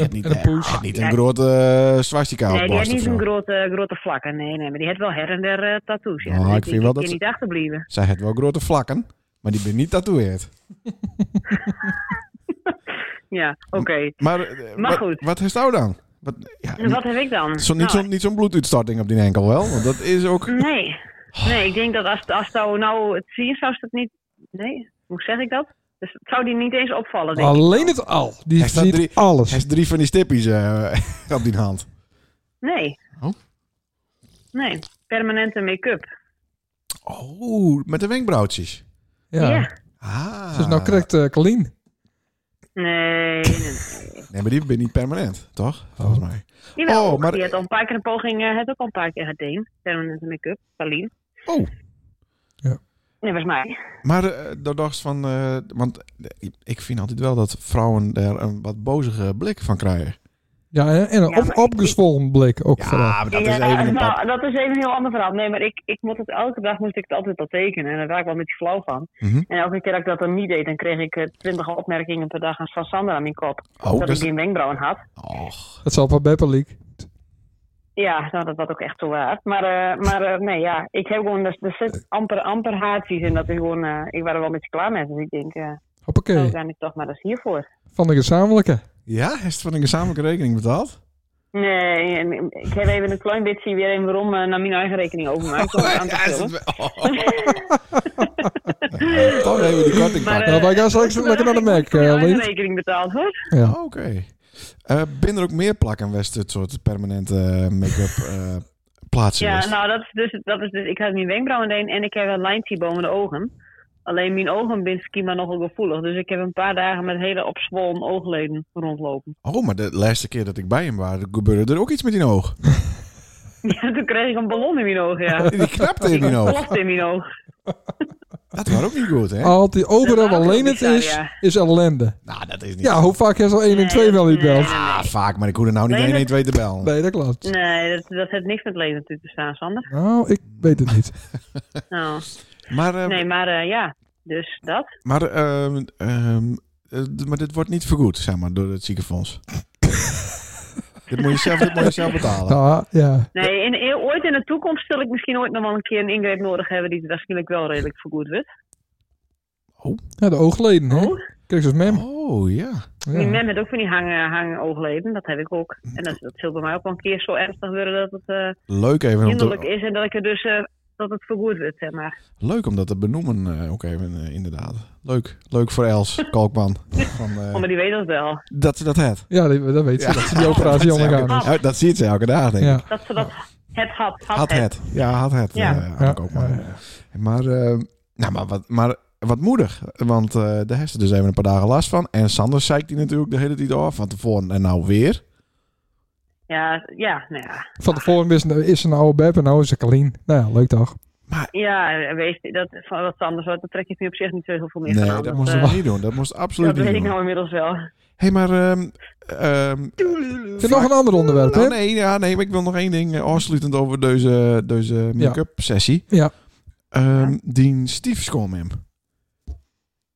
[SPEAKER 2] heeft
[SPEAKER 1] En-
[SPEAKER 2] niet,
[SPEAKER 1] en een
[SPEAKER 2] eh,
[SPEAKER 1] poes.
[SPEAKER 2] heeft niet een
[SPEAKER 5] Ja.
[SPEAKER 2] grote eh, swastika
[SPEAKER 5] Nee,
[SPEAKER 2] op
[SPEAKER 5] die heeft
[SPEAKER 2] borst of
[SPEAKER 5] niet
[SPEAKER 2] zo.
[SPEAKER 5] zo'n grote, grote vlakken. Nee, nee, maar die heeft wel her en der eh, tattoos. Ja.
[SPEAKER 2] Nou,
[SPEAKER 5] Dus
[SPEAKER 2] ik vind wel
[SPEAKER 5] kan
[SPEAKER 2] dat ze-
[SPEAKER 5] niet achterblijven.
[SPEAKER 2] Zij heeft wel grote vlakken, maar die ben niet tatoeëerd.
[SPEAKER 5] Ja, oké.
[SPEAKER 2] Maar, eh,
[SPEAKER 5] Maar
[SPEAKER 2] wat-
[SPEAKER 5] goed.
[SPEAKER 2] Wat heeft jou dan? Wat, ja,
[SPEAKER 5] En wat heb ik dan?
[SPEAKER 2] niet- zo, niet
[SPEAKER 5] Nou,
[SPEAKER 2] zo'n niet zo'n bloeduitstorting op die enkel wel, want dat is ook...
[SPEAKER 5] Nee.
[SPEAKER 2] Oh.
[SPEAKER 5] Nee, ik denk dat als, als zou nou het zien, zou ze het niet... Nee, hoe zeg ik dat? Dus het zou die niet eens opvallen, denk ik.
[SPEAKER 1] Alleen het al. Die
[SPEAKER 2] Hij staat
[SPEAKER 1] ziet
[SPEAKER 2] drie- Hij
[SPEAKER 1] alles.
[SPEAKER 2] heeft drie van die stippies eh, *laughs* op die hand.
[SPEAKER 5] Nee.
[SPEAKER 2] Oh.
[SPEAKER 5] Nee, permanente make-up.
[SPEAKER 2] Oh, met de wenkbrauwtjes.
[SPEAKER 1] Ja.
[SPEAKER 5] ja.
[SPEAKER 2] Ah.
[SPEAKER 1] Dus nou krijgt eh Colleen.
[SPEAKER 5] Nee, nee, nee.
[SPEAKER 2] Nee, maar die ben niet permanent, toch? Volgens mij.
[SPEAKER 5] Jawel,
[SPEAKER 2] Oh, maar-
[SPEAKER 5] die had al een paar keer een poging, eh, heeft ook al een paar keer gedaan. Permanente make-up, Paulien.
[SPEAKER 2] Oh.
[SPEAKER 1] Ja.
[SPEAKER 5] Nee, was mij.
[SPEAKER 2] Maar eh, dat dacht van... eh, want eh, ik vind altijd wel dat vrouwen daar een wat bozige blik van krijgen.
[SPEAKER 1] Ja, en- en een
[SPEAKER 5] Ja,
[SPEAKER 1] op,
[SPEAKER 5] maar ik-
[SPEAKER 1] opgezwollen blik ook vooral.
[SPEAKER 2] maar dat
[SPEAKER 5] Ja,
[SPEAKER 2] is even een pap.
[SPEAKER 5] nou, dat is even een heel ander verhaal. Nee, maar ik, ik moet het elke dag moest ik het altijd al tekenen. En daar raak ik wel een beetje flauw van.
[SPEAKER 2] Mhm.
[SPEAKER 5] En elke keer dat ik dat dan niet deed, dan kreeg ik eh, twintig opmerkingen per dag aan van Sander aan mijn kop.
[SPEAKER 2] Oh,
[SPEAKER 5] dat
[SPEAKER 2] dus-
[SPEAKER 5] ik geen wenkbrauwen had.
[SPEAKER 2] Och.
[SPEAKER 1] Dat zal bij Beppe League.
[SPEAKER 5] Ja, nou, dat was ook echt zo waard. Maar, eh, maar eh, nee, ja, ik heb gewoon, er, er zit amper, amper haartjes en dat is gewoon, eh, ik was er wel een beetje klaar mee. Dus ik denk, eh nou
[SPEAKER 1] Hoppakee.
[SPEAKER 5] ben ik toch maar eens hiervoor.
[SPEAKER 1] Van de gezamenlijke.
[SPEAKER 2] Ja, heeft het van een gezamenlijke rekening
[SPEAKER 5] *laughs*
[SPEAKER 2] betaald?
[SPEAKER 5] Nee, en ik heb even een klein beetje weer even waarom eh, naar mijn eigen rekening
[SPEAKER 2] *laughs*
[SPEAKER 5] overmaakt. om het aan te
[SPEAKER 2] Ja, is
[SPEAKER 5] vullen.
[SPEAKER 2] het wel- Ja, Toch even die korting
[SPEAKER 5] Maar,
[SPEAKER 2] pakken.
[SPEAKER 5] eh,
[SPEAKER 1] nou, wij gaan straks
[SPEAKER 5] ik heb
[SPEAKER 1] lekker naar de Mac,
[SPEAKER 5] eigenlijk voor mijn
[SPEAKER 1] eh,
[SPEAKER 5] eigen
[SPEAKER 1] Lien.
[SPEAKER 5] rekening betaald hoor.
[SPEAKER 1] Ja.
[SPEAKER 2] Oh, Oké. Eh ben er ook meer plakken West dit soort permanente eh, make-up eh, plaatsen?
[SPEAKER 5] Ja,
[SPEAKER 2] West?
[SPEAKER 5] nou dat is dus, dat is dus ik had mijn wenkbrauwen deen en ik heb een lijntje boven de ogen. Alleen mijn ogen zijn schijnbaar nogal gevoelig. Dus ik heb een paar dagen met hele opzwollen oogleden rondlopen. *laughs*
[SPEAKER 2] Oh, maar de laatste keer dat ik bij hem was, gebeurde er ook iets met die oog.
[SPEAKER 5] Ja, toen kreeg ik een ballon in mijn oog,
[SPEAKER 1] *laughs*
[SPEAKER 5] ja.
[SPEAKER 2] Die knapte in die
[SPEAKER 1] Oh.
[SPEAKER 2] oog.
[SPEAKER 5] Klopt in mijn oog.
[SPEAKER 2] Dat was ook niet goed, hè?
[SPEAKER 1] Altijd overal
[SPEAKER 5] Dat
[SPEAKER 1] waar
[SPEAKER 5] is
[SPEAKER 1] alleen het
[SPEAKER 5] bizar,
[SPEAKER 1] is,
[SPEAKER 5] ja.
[SPEAKER 1] is ellende.
[SPEAKER 2] Nou, dat is niet
[SPEAKER 1] Ja, hoe vaak is al 1 en 2 wel niet
[SPEAKER 5] nee,
[SPEAKER 1] belt?
[SPEAKER 2] Ah, vaak, maar ik hoorde nou niet
[SPEAKER 5] Nee,
[SPEAKER 2] 112 te bellen.
[SPEAKER 1] Nee, dat klopt.
[SPEAKER 5] Nee, dat, dat heeft niks met leven natuurlijk te staan, Sander.
[SPEAKER 1] Nou, ik weet het niet.
[SPEAKER 5] Nou,
[SPEAKER 2] Maar, eh,
[SPEAKER 5] nee, maar eh, ja, dus dat.
[SPEAKER 2] maar, ehm, ehm, eh, d- maar dit wordt niet vergoed, zeg maar, door het *laughs* ziekenfonds. dit, moet je zelf, dit moet je zelf betalen.
[SPEAKER 1] Ja, ja.
[SPEAKER 5] Nee, in, in- ooit in de toekomst zal ik misschien ooit nog wel een keer een ingreep nodig hebben die waarschijnlijk wel redelijk vergoed wordt.
[SPEAKER 1] ja de oogleden, hè?
[SPEAKER 5] Oh.
[SPEAKER 1] Kijk, zoals mem.
[SPEAKER 2] Oh, ja.
[SPEAKER 5] Die
[SPEAKER 1] Ja.
[SPEAKER 5] men met ook van die hangen, hangen oogleden, dat heb ik ook. En dat, dat zal bij mij ook wel een keer zo ernstig worden dat het eh
[SPEAKER 2] Leuk even om
[SPEAKER 5] hinderlijk
[SPEAKER 2] te,
[SPEAKER 5] is en dat ik er dus eh, dat het vergoed wordt, zeg maar.
[SPEAKER 2] leuk om dat te benoemen eh, ook even, eh, inderdaad. Leuk. Leuk voor Els Kalkman.
[SPEAKER 5] *laughs*
[SPEAKER 2] Van, eh,
[SPEAKER 5] Oh, maar die weet dat wel.
[SPEAKER 2] dat ze dat had.
[SPEAKER 1] Ja, die- dat weet ze.
[SPEAKER 2] Ja.
[SPEAKER 1] Dat ze die operatie
[SPEAKER 2] Dat ze elke-
[SPEAKER 5] Ah.
[SPEAKER 1] ondergaan is.
[SPEAKER 2] Oh, Dat ziet ze elke dag, denk ik.
[SPEAKER 1] Ja.
[SPEAKER 5] Dat ze dat het had, had,
[SPEAKER 2] Had
[SPEAKER 5] het.
[SPEAKER 2] het. Ja, had het.
[SPEAKER 5] Ja.
[SPEAKER 2] eh, had
[SPEAKER 1] Ja,
[SPEAKER 2] ik ook maar.
[SPEAKER 1] ja,
[SPEAKER 2] Maar, eh, nou, maar, wat, maar wat moedig. Want eh, daar heeft ze dus even een paar dagen last van. En Sander zeikt die natuurlijk de hele tijd af. Van tevoren en nou weer.
[SPEAKER 5] Ja, ja, nou ja.
[SPEAKER 1] Van tevoren is, is een oude Beb en nou is ze Kalien. Nou ja, leuk toch?
[SPEAKER 2] Maar
[SPEAKER 5] Ja, wees, dat, van wat Sander zo, dat trek ik nu op zich niet zo heel veel meer van
[SPEAKER 2] nee,
[SPEAKER 5] aan,
[SPEAKER 2] dat
[SPEAKER 5] want,
[SPEAKER 2] moest
[SPEAKER 5] eh,
[SPEAKER 2] ik niet doen. Dat moest absoluut
[SPEAKER 5] Dat
[SPEAKER 2] niet
[SPEAKER 5] weet
[SPEAKER 2] doen.
[SPEAKER 5] ik nou inmiddels wel.
[SPEAKER 2] hey, maar... ehm, ehm,
[SPEAKER 1] Is er nog een ander onderwerp, hè?
[SPEAKER 2] nou, nee, ja, nee, maar ik wil nog één ding eh, afsluitend over deze, deze make-up sessie.
[SPEAKER 1] Ja.
[SPEAKER 2] Ehm, die stiefschoolmem,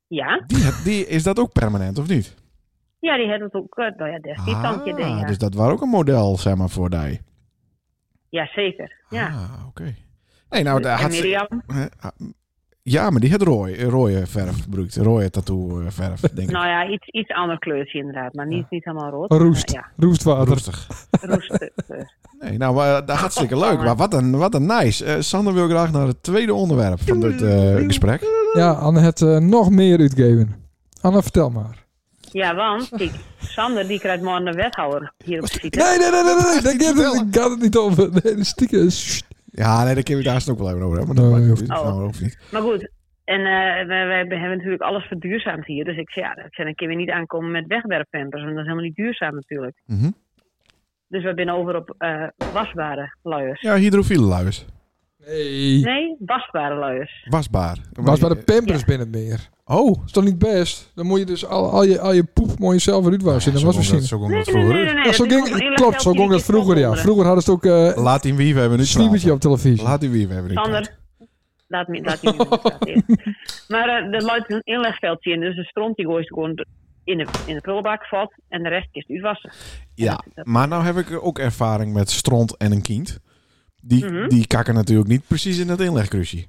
[SPEAKER 5] Ja?
[SPEAKER 2] die, heb- die, is dat ook permanent of niet?
[SPEAKER 5] Ja, die had het ook, eh, nou ja, destijds ah, tandje ding, ja.
[SPEAKER 2] dus dat was ook een model, zeg maar, voor die.
[SPEAKER 5] Jazeker, ja.
[SPEAKER 2] Ah, oké. Nee, nou, daar
[SPEAKER 5] en
[SPEAKER 2] had ze...
[SPEAKER 5] Mirjam,
[SPEAKER 2] Eh, ah, Ja, maar die had rooi, rode verf gebruikt. Rode tattoo eh, verf, denk ik.
[SPEAKER 5] nou ja, iets, iets ander kleurtje inderdaad, maar niet, niet helemaal rood.
[SPEAKER 1] Roest.
[SPEAKER 5] Maar,
[SPEAKER 1] Roestwater.
[SPEAKER 2] Rustig.
[SPEAKER 5] ja, roestkleur.
[SPEAKER 2] Nee, nou, eh, dat hartstikke leuk. Maar wat een, wat een nice. Eh, Sander wil graag naar het tweede onderwerp van dit eh, gesprek.
[SPEAKER 1] Ja, Anne het eh, nog meer uitgeven. Anne, vertel maar.
[SPEAKER 5] ja, want kijk, Sander die krijgt morgen een wethouder hier op de site.
[SPEAKER 1] Nee, nee, nee, nee, nee. nee. Daar gaat het- daar gaat het niet over. Nee, dat is stiekem. Sst.
[SPEAKER 2] Ja, nee, daar kunnen we daar straks ook wel even over hebben. Maar
[SPEAKER 1] Nee,
[SPEAKER 2] dat maakt
[SPEAKER 1] hoeft
[SPEAKER 2] niet.
[SPEAKER 5] niet.
[SPEAKER 2] Nou, hoeft niet.
[SPEAKER 5] Maar goed, en eh, wij, wij hebben natuurlijk alles verduurzaamd hier. Dus ik zei, ja, dat zijn een keer weer niet aankomen met wegwerppampers. En dat is helemaal niet duurzaam natuurlijk.
[SPEAKER 2] Mhm.
[SPEAKER 5] Dus we zijn over op eh, wasbare luiers.
[SPEAKER 2] Ja, hydrofiele luis.
[SPEAKER 1] Nee.
[SPEAKER 5] Nee, wasbare luiers.
[SPEAKER 2] Wasbaar.
[SPEAKER 1] Was bij de pampers binnen het meer.
[SPEAKER 2] Oh.
[SPEAKER 1] Is toch niet best? Dan moet je dus al, al, je, al je poep moet je zelf eruit wassen. dat was misschien...
[SPEAKER 2] Zo ging
[SPEAKER 5] Nee,
[SPEAKER 2] dat
[SPEAKER 5] nee, nee, nee.
[SPEAKER 2] vroeger.
[SPEAKER 5] nee,
[SPEAKER 1] Ja,
[SPEAKER 5] dat
[SPEAKER 1] zo
[SPEAKER 5] is gewoon een
[SPEAKER 1] ging, klopt, zo ging dat
[SPEAKER 5] elektrisch
[SPEAKER 1] vroeger, ja.
[SPEAKER 5] opgelost.
[SPEAKER 1] Vroeger hadden ze ook eh, een
[SPEAKER 2] Laat in wie we hebben nu
[SPEAKER 1] snibbertje op televisie.
[SPEAKER 2] Laat in wie we hebben nu
[SPEAKER 5] Sander, laat me, laat
[SPEAKER 2] *laughs*
[SPEAKER 5] me in de straat Maar eh, er loopt een inlegveldje in, dus de stront die gooit gewoon in de, in de prullenbak valt en de rest is uitwassen.
[SPEAKER 2] Ja, maar nou heb ik ook ervaring met stront en een kind. Die,
[SPEAKER 5] Mhm.
[SPEAKER 2] die kakken natuurlijk niet precies in dat inlegkruisje.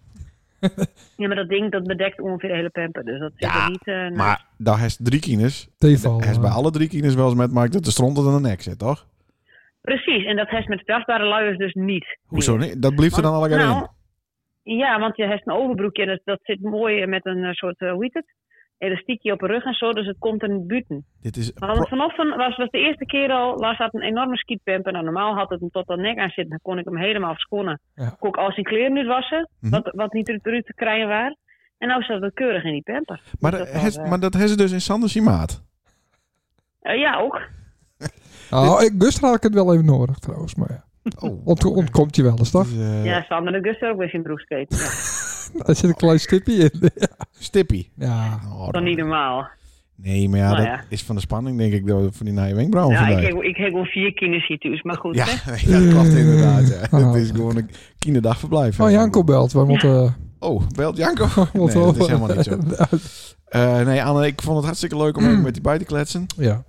[SPEAKER 5] Ja, maar dat ding dat bedekt ongeveer de hele pamper, dus dat zit
[SPEAKER 2] Ja,
[SPEAKER 5] er niet... eh, nou,
[SPEAKER 2] Maar daar heeft drie kines.
[SPEAKER 1] Teval.
[SPEAKER 2] Hij is bij
[SPEAKER 1] eh.
[SPEAKER 2] alle drie kines wel eens met Mike dat de stront er aan de nek zit, toch?
[SPEAKER 5] Precies, en dat heeft met wasbare luiers dus niet.
[SPEAKER 2] Hoezo niet? Dat blijft er dan al lekker
[SPEAKER 5] Nou,
[SPEAKER 2] in.
[SPEAKER 5] ja, want je hebt een overbroekje en dat, dat zit mooi met een eh, soort, eh, hoe heet het? Elastiekje op de rug en zo, dus het komt in buiten.
[SPEAKER 2] Dit is
[SPEAKER 5] Maar want vanochtend was, was de eerste keer al, was dat een enorme skietpamper. Nou, normaal had het hem tot aan nek aan zitten, dan kon ik hem helemaal afschonen.
[SPEAKER 1] Ja.
[SPEAKER 5] Kon ik al zijn kleren niet wassen,
[SPEAKER 2] Mhm.
[SPEAKER 5] wat, wat niet uit de ruit te krijgen waren. En nou zat het keurig in die pamper.
[SPEAKER 2] maar,
[SPEAKER 5] Dus
[SPEAKER 2] dat
[SPEAKER 5] was,
[SPEAKER 2] heeft-
[SPEAKER 5] eh,
[SPEAKER 2] maar dat heeft ze dus in Sanders maat.
[SPEAKER 5] eh, ja, ook.
[SPEAKER 1] Nou, ik dus had ik het wel even nodig trouwens, maar ja.
[SPEAKER 2] Oh,
[SPEAKER 1] Ont ontkomt je wel eens, toch?
[SPEAKER 2] dit is, eh,
[SPEAKER 5] ja, Sander de Guster ook weer zijn broeksketen. Ja, dat
[SPEAKER 1] Daar zit een klein stipje in.
[SPEAKER 2] Stippie.
[SPEAKER 1] Ja.
[SPEAKER 2] Oh,
[SPEAKER 5] is dan niet normaal.
[SPEAKER 2] Nee, maar ja,
[SPEAKER 5] Nou
[SPEAKER 2] dat
[SPEAKER 5] ja.
[SPEAKER 2] is van de spanning, denk ik, door- van die naaie wenkbrauwen
[SPEAKER 5] Ja,
[SPEAKER 2] vandaag.
[SPEAKER 5] ik, heb- ik heb wel vier kinderen hier thuis, maar
[SPEAKER 2] *laughs*
[SPEAKER 5] goed.
[SPEAKER 2] Ja,
[SPEAKER 5] hè.
[SPEAKER 2] nee, dat klopt inderdaad. Ja.
[SPEAKER 1] *laughs* Ah.
[SPEAKER 2] Het is gewoon een kinderdagverblijf.
[SPEAKER 1] Oh, Janko belt. We moeten...
[SPEAKER 2] Oh, belt
[SPEAKER 1] *laughs*
[SPEAKER 2] Janko. Nee,
[SPEAKER 1] moeten
[SPEAKER 2] dat is helemaal niet zo. Eh, nee, Anne, ik vond het hartstikke leuk om even met die bij te kletsen.
[SPEAKER 1] *laughs* ja.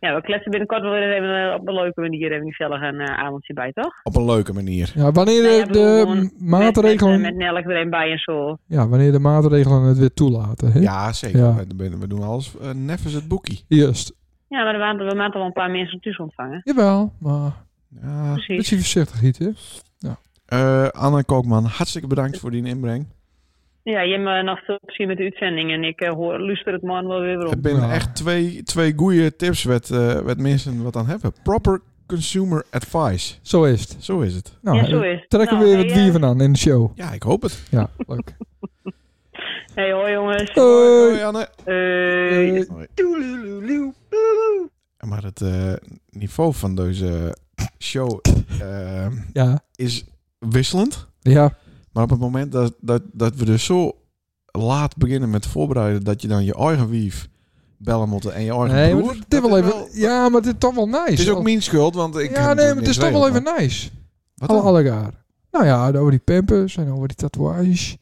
[SPEAKER 5] Ja, we kletsen binnenkort wel weer even eh, op een leuke manier even gezellig een eh, avondje bij, toch?
[SPEAKER 2] Op een leuke manier.
[SPEAKER 1] ja, wanneer
[SPEAKER 5] Nee, Nou
[SPEAKER 1] de,
[SPEAKER 5] ja, ik bedoel, gewoon
[SPEAKER 1] de
[SPEAKER 5] met-
[SPEAKER 1] maatregelen...
[SPEAKER 5] Met, met, met Nelk weer een bij en zo.
[SPEAKER 1] Ja, wanneer de maatregelen het weer toelaten. Hè?
[SPEAKER 2] Ja, zeker.
[SPEAKER 1] Ja.
[SPEAKER 2] We, we doen alles. eh nevens het boekie.
[SPEAKER 1] Juist.
[SPEAKER 5] Ja, maar er waren, we maanden wel een paar mensen thuis ontvangen.
[SPEAKER 1] Jawel, maar...
[SPEAKER 2] Ja.
[SPEAKER 1] Een
[SPEAKER 5] Precies.
[SPEAKER 1] beetje voorzichtig iets, hè?
[SPEAKER 2] Eh, Anne Kookman, hartstikke bedankt voor die inbreng.
[SPEAKER 5] Ja, je hebt me nog veel plezier met de uitzending en ik eh, hoor, luister het morgen wel weer weer
[SPEAKER 2] Het
[SPEAKER 5] op.
[SPEAKER 2] zijn
[SPEAKER 1] Nou.
[SPEAKER 2] echt twee, twee goede tips wat, eh wat mensen wat aan hebben. Proper consumer advice.
[SPEAKER 1] Zo is het.
[SPEAKER 2] Zo is het.
[SPEAKER 1] Nou,
[SPEAKER 5] ja, zo is het.
[SPEAKER 1] trekken we
[SPEAKER 5] Nou,
[SPEAKER 1] weer
[SPEAKER 5] hey,
[SPEAKER 1] wat
[SPEAKER 5] eh,
[SPEAKER 1] wieven aan in de show.
[SPEAKER 2] Ja, ik hoop het.
[SPEAKER 5] *laughs*
[SPEAKER 1] Ja, leuk.
[SPEAKER 5] Hey, hoi jongens.
[SPEAKER 1] Hoi.
[SPEAKER 2] Hoi Anne.
[SPEAKER 5] Hey.
[SPEAKER 1] Hoi.
[SPEAKER 2] Hoi. Maar het eh, niveau van deze show eh,
[SPEAKER 1] Ja.
[SPEAKER 2] is wisselend.
[SPEAKER 1] Ja.
[SPEAKER 2] Maar op het moment dat, dat, dat we dus zo laat beginnen met voorbereiden... dat je dan je eigen wief bellen moet en je eigen
[SPEAKER 1] Nee, maar
[SPEAKER 2] broer...
[SPEAKER 1] dit- dit
[SPEAKER 2] dat
[SPEAKER 1] wel
[SPEAKER 2] is
[SPEAKER 1] even... ja, maar dit is toch wel nice.
[SPEAKER 2] Het is ook mijn schuld, want ik... heb
[SPEAKER 1] ja, nee,
[SPEAKER 2] natuurlijk
[SPEAKER 1] maar het is
[SPEAKER 2] niks
[SPEAKER 1] toch wel even
[SPEAKER 2] regelen.
[SPEAKER 1] nice.
[SPEAKER 2] Wat
[SPEAKER 1] Alle
[SPEAKER 2] dan?
[SPEAKER 1] allegaar. Nou ja, over die pampers en over die tatoeages.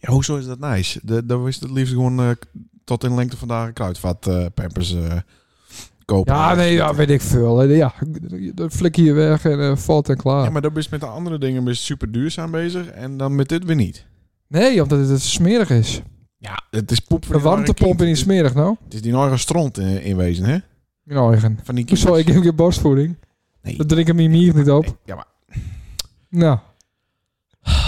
[SPEAKER 2] Ja, hoezo is dat nice? De- Dan is het liefst gewoon eh, k- tot in lengte vandaag een kruidvat eh, pampers eh, kopen.
[SPEAKER 1] Ja, nee, ja, weet ik veel. hè. Ja, dan flik je weg en eh, valt en klaar.
[SPEAKER 2] Ja, maar dan ben je met de andere dingen ben je super duurzaam bezig en dan met dit weer niet.
[SPEAKER 1] Nee, omdat het, het smerig is.
[SPEAKER 2] Ja, het is poep voor
[SPEAKER 1] Een
[SPEAKER 2] die
[SPEAKER 1] warmtepomp
[SPEAKER 2] eigen
[SPEAKER 1] is niet
[SPEAKER 2] kind.
[SPEAKER 1] smerig, nou.
[SPEAKER 2] Het is die eigen stront in, in wezen, hè?
[SPEAKER 1] Mijn eigen.
[SPEAKER 2] Van die
[SPEAKER 1] Hoezo, ik
[SPEAKER 2] kinders.
[SPEAKER 1] heb geen borstvoeding.
[SPEAKER 2] Nee.
[SPEAKER 1] Dat drinken mijn mier niet op.
[SPEAKER 2] Ja, maar
[SPEAKER 1] Nou.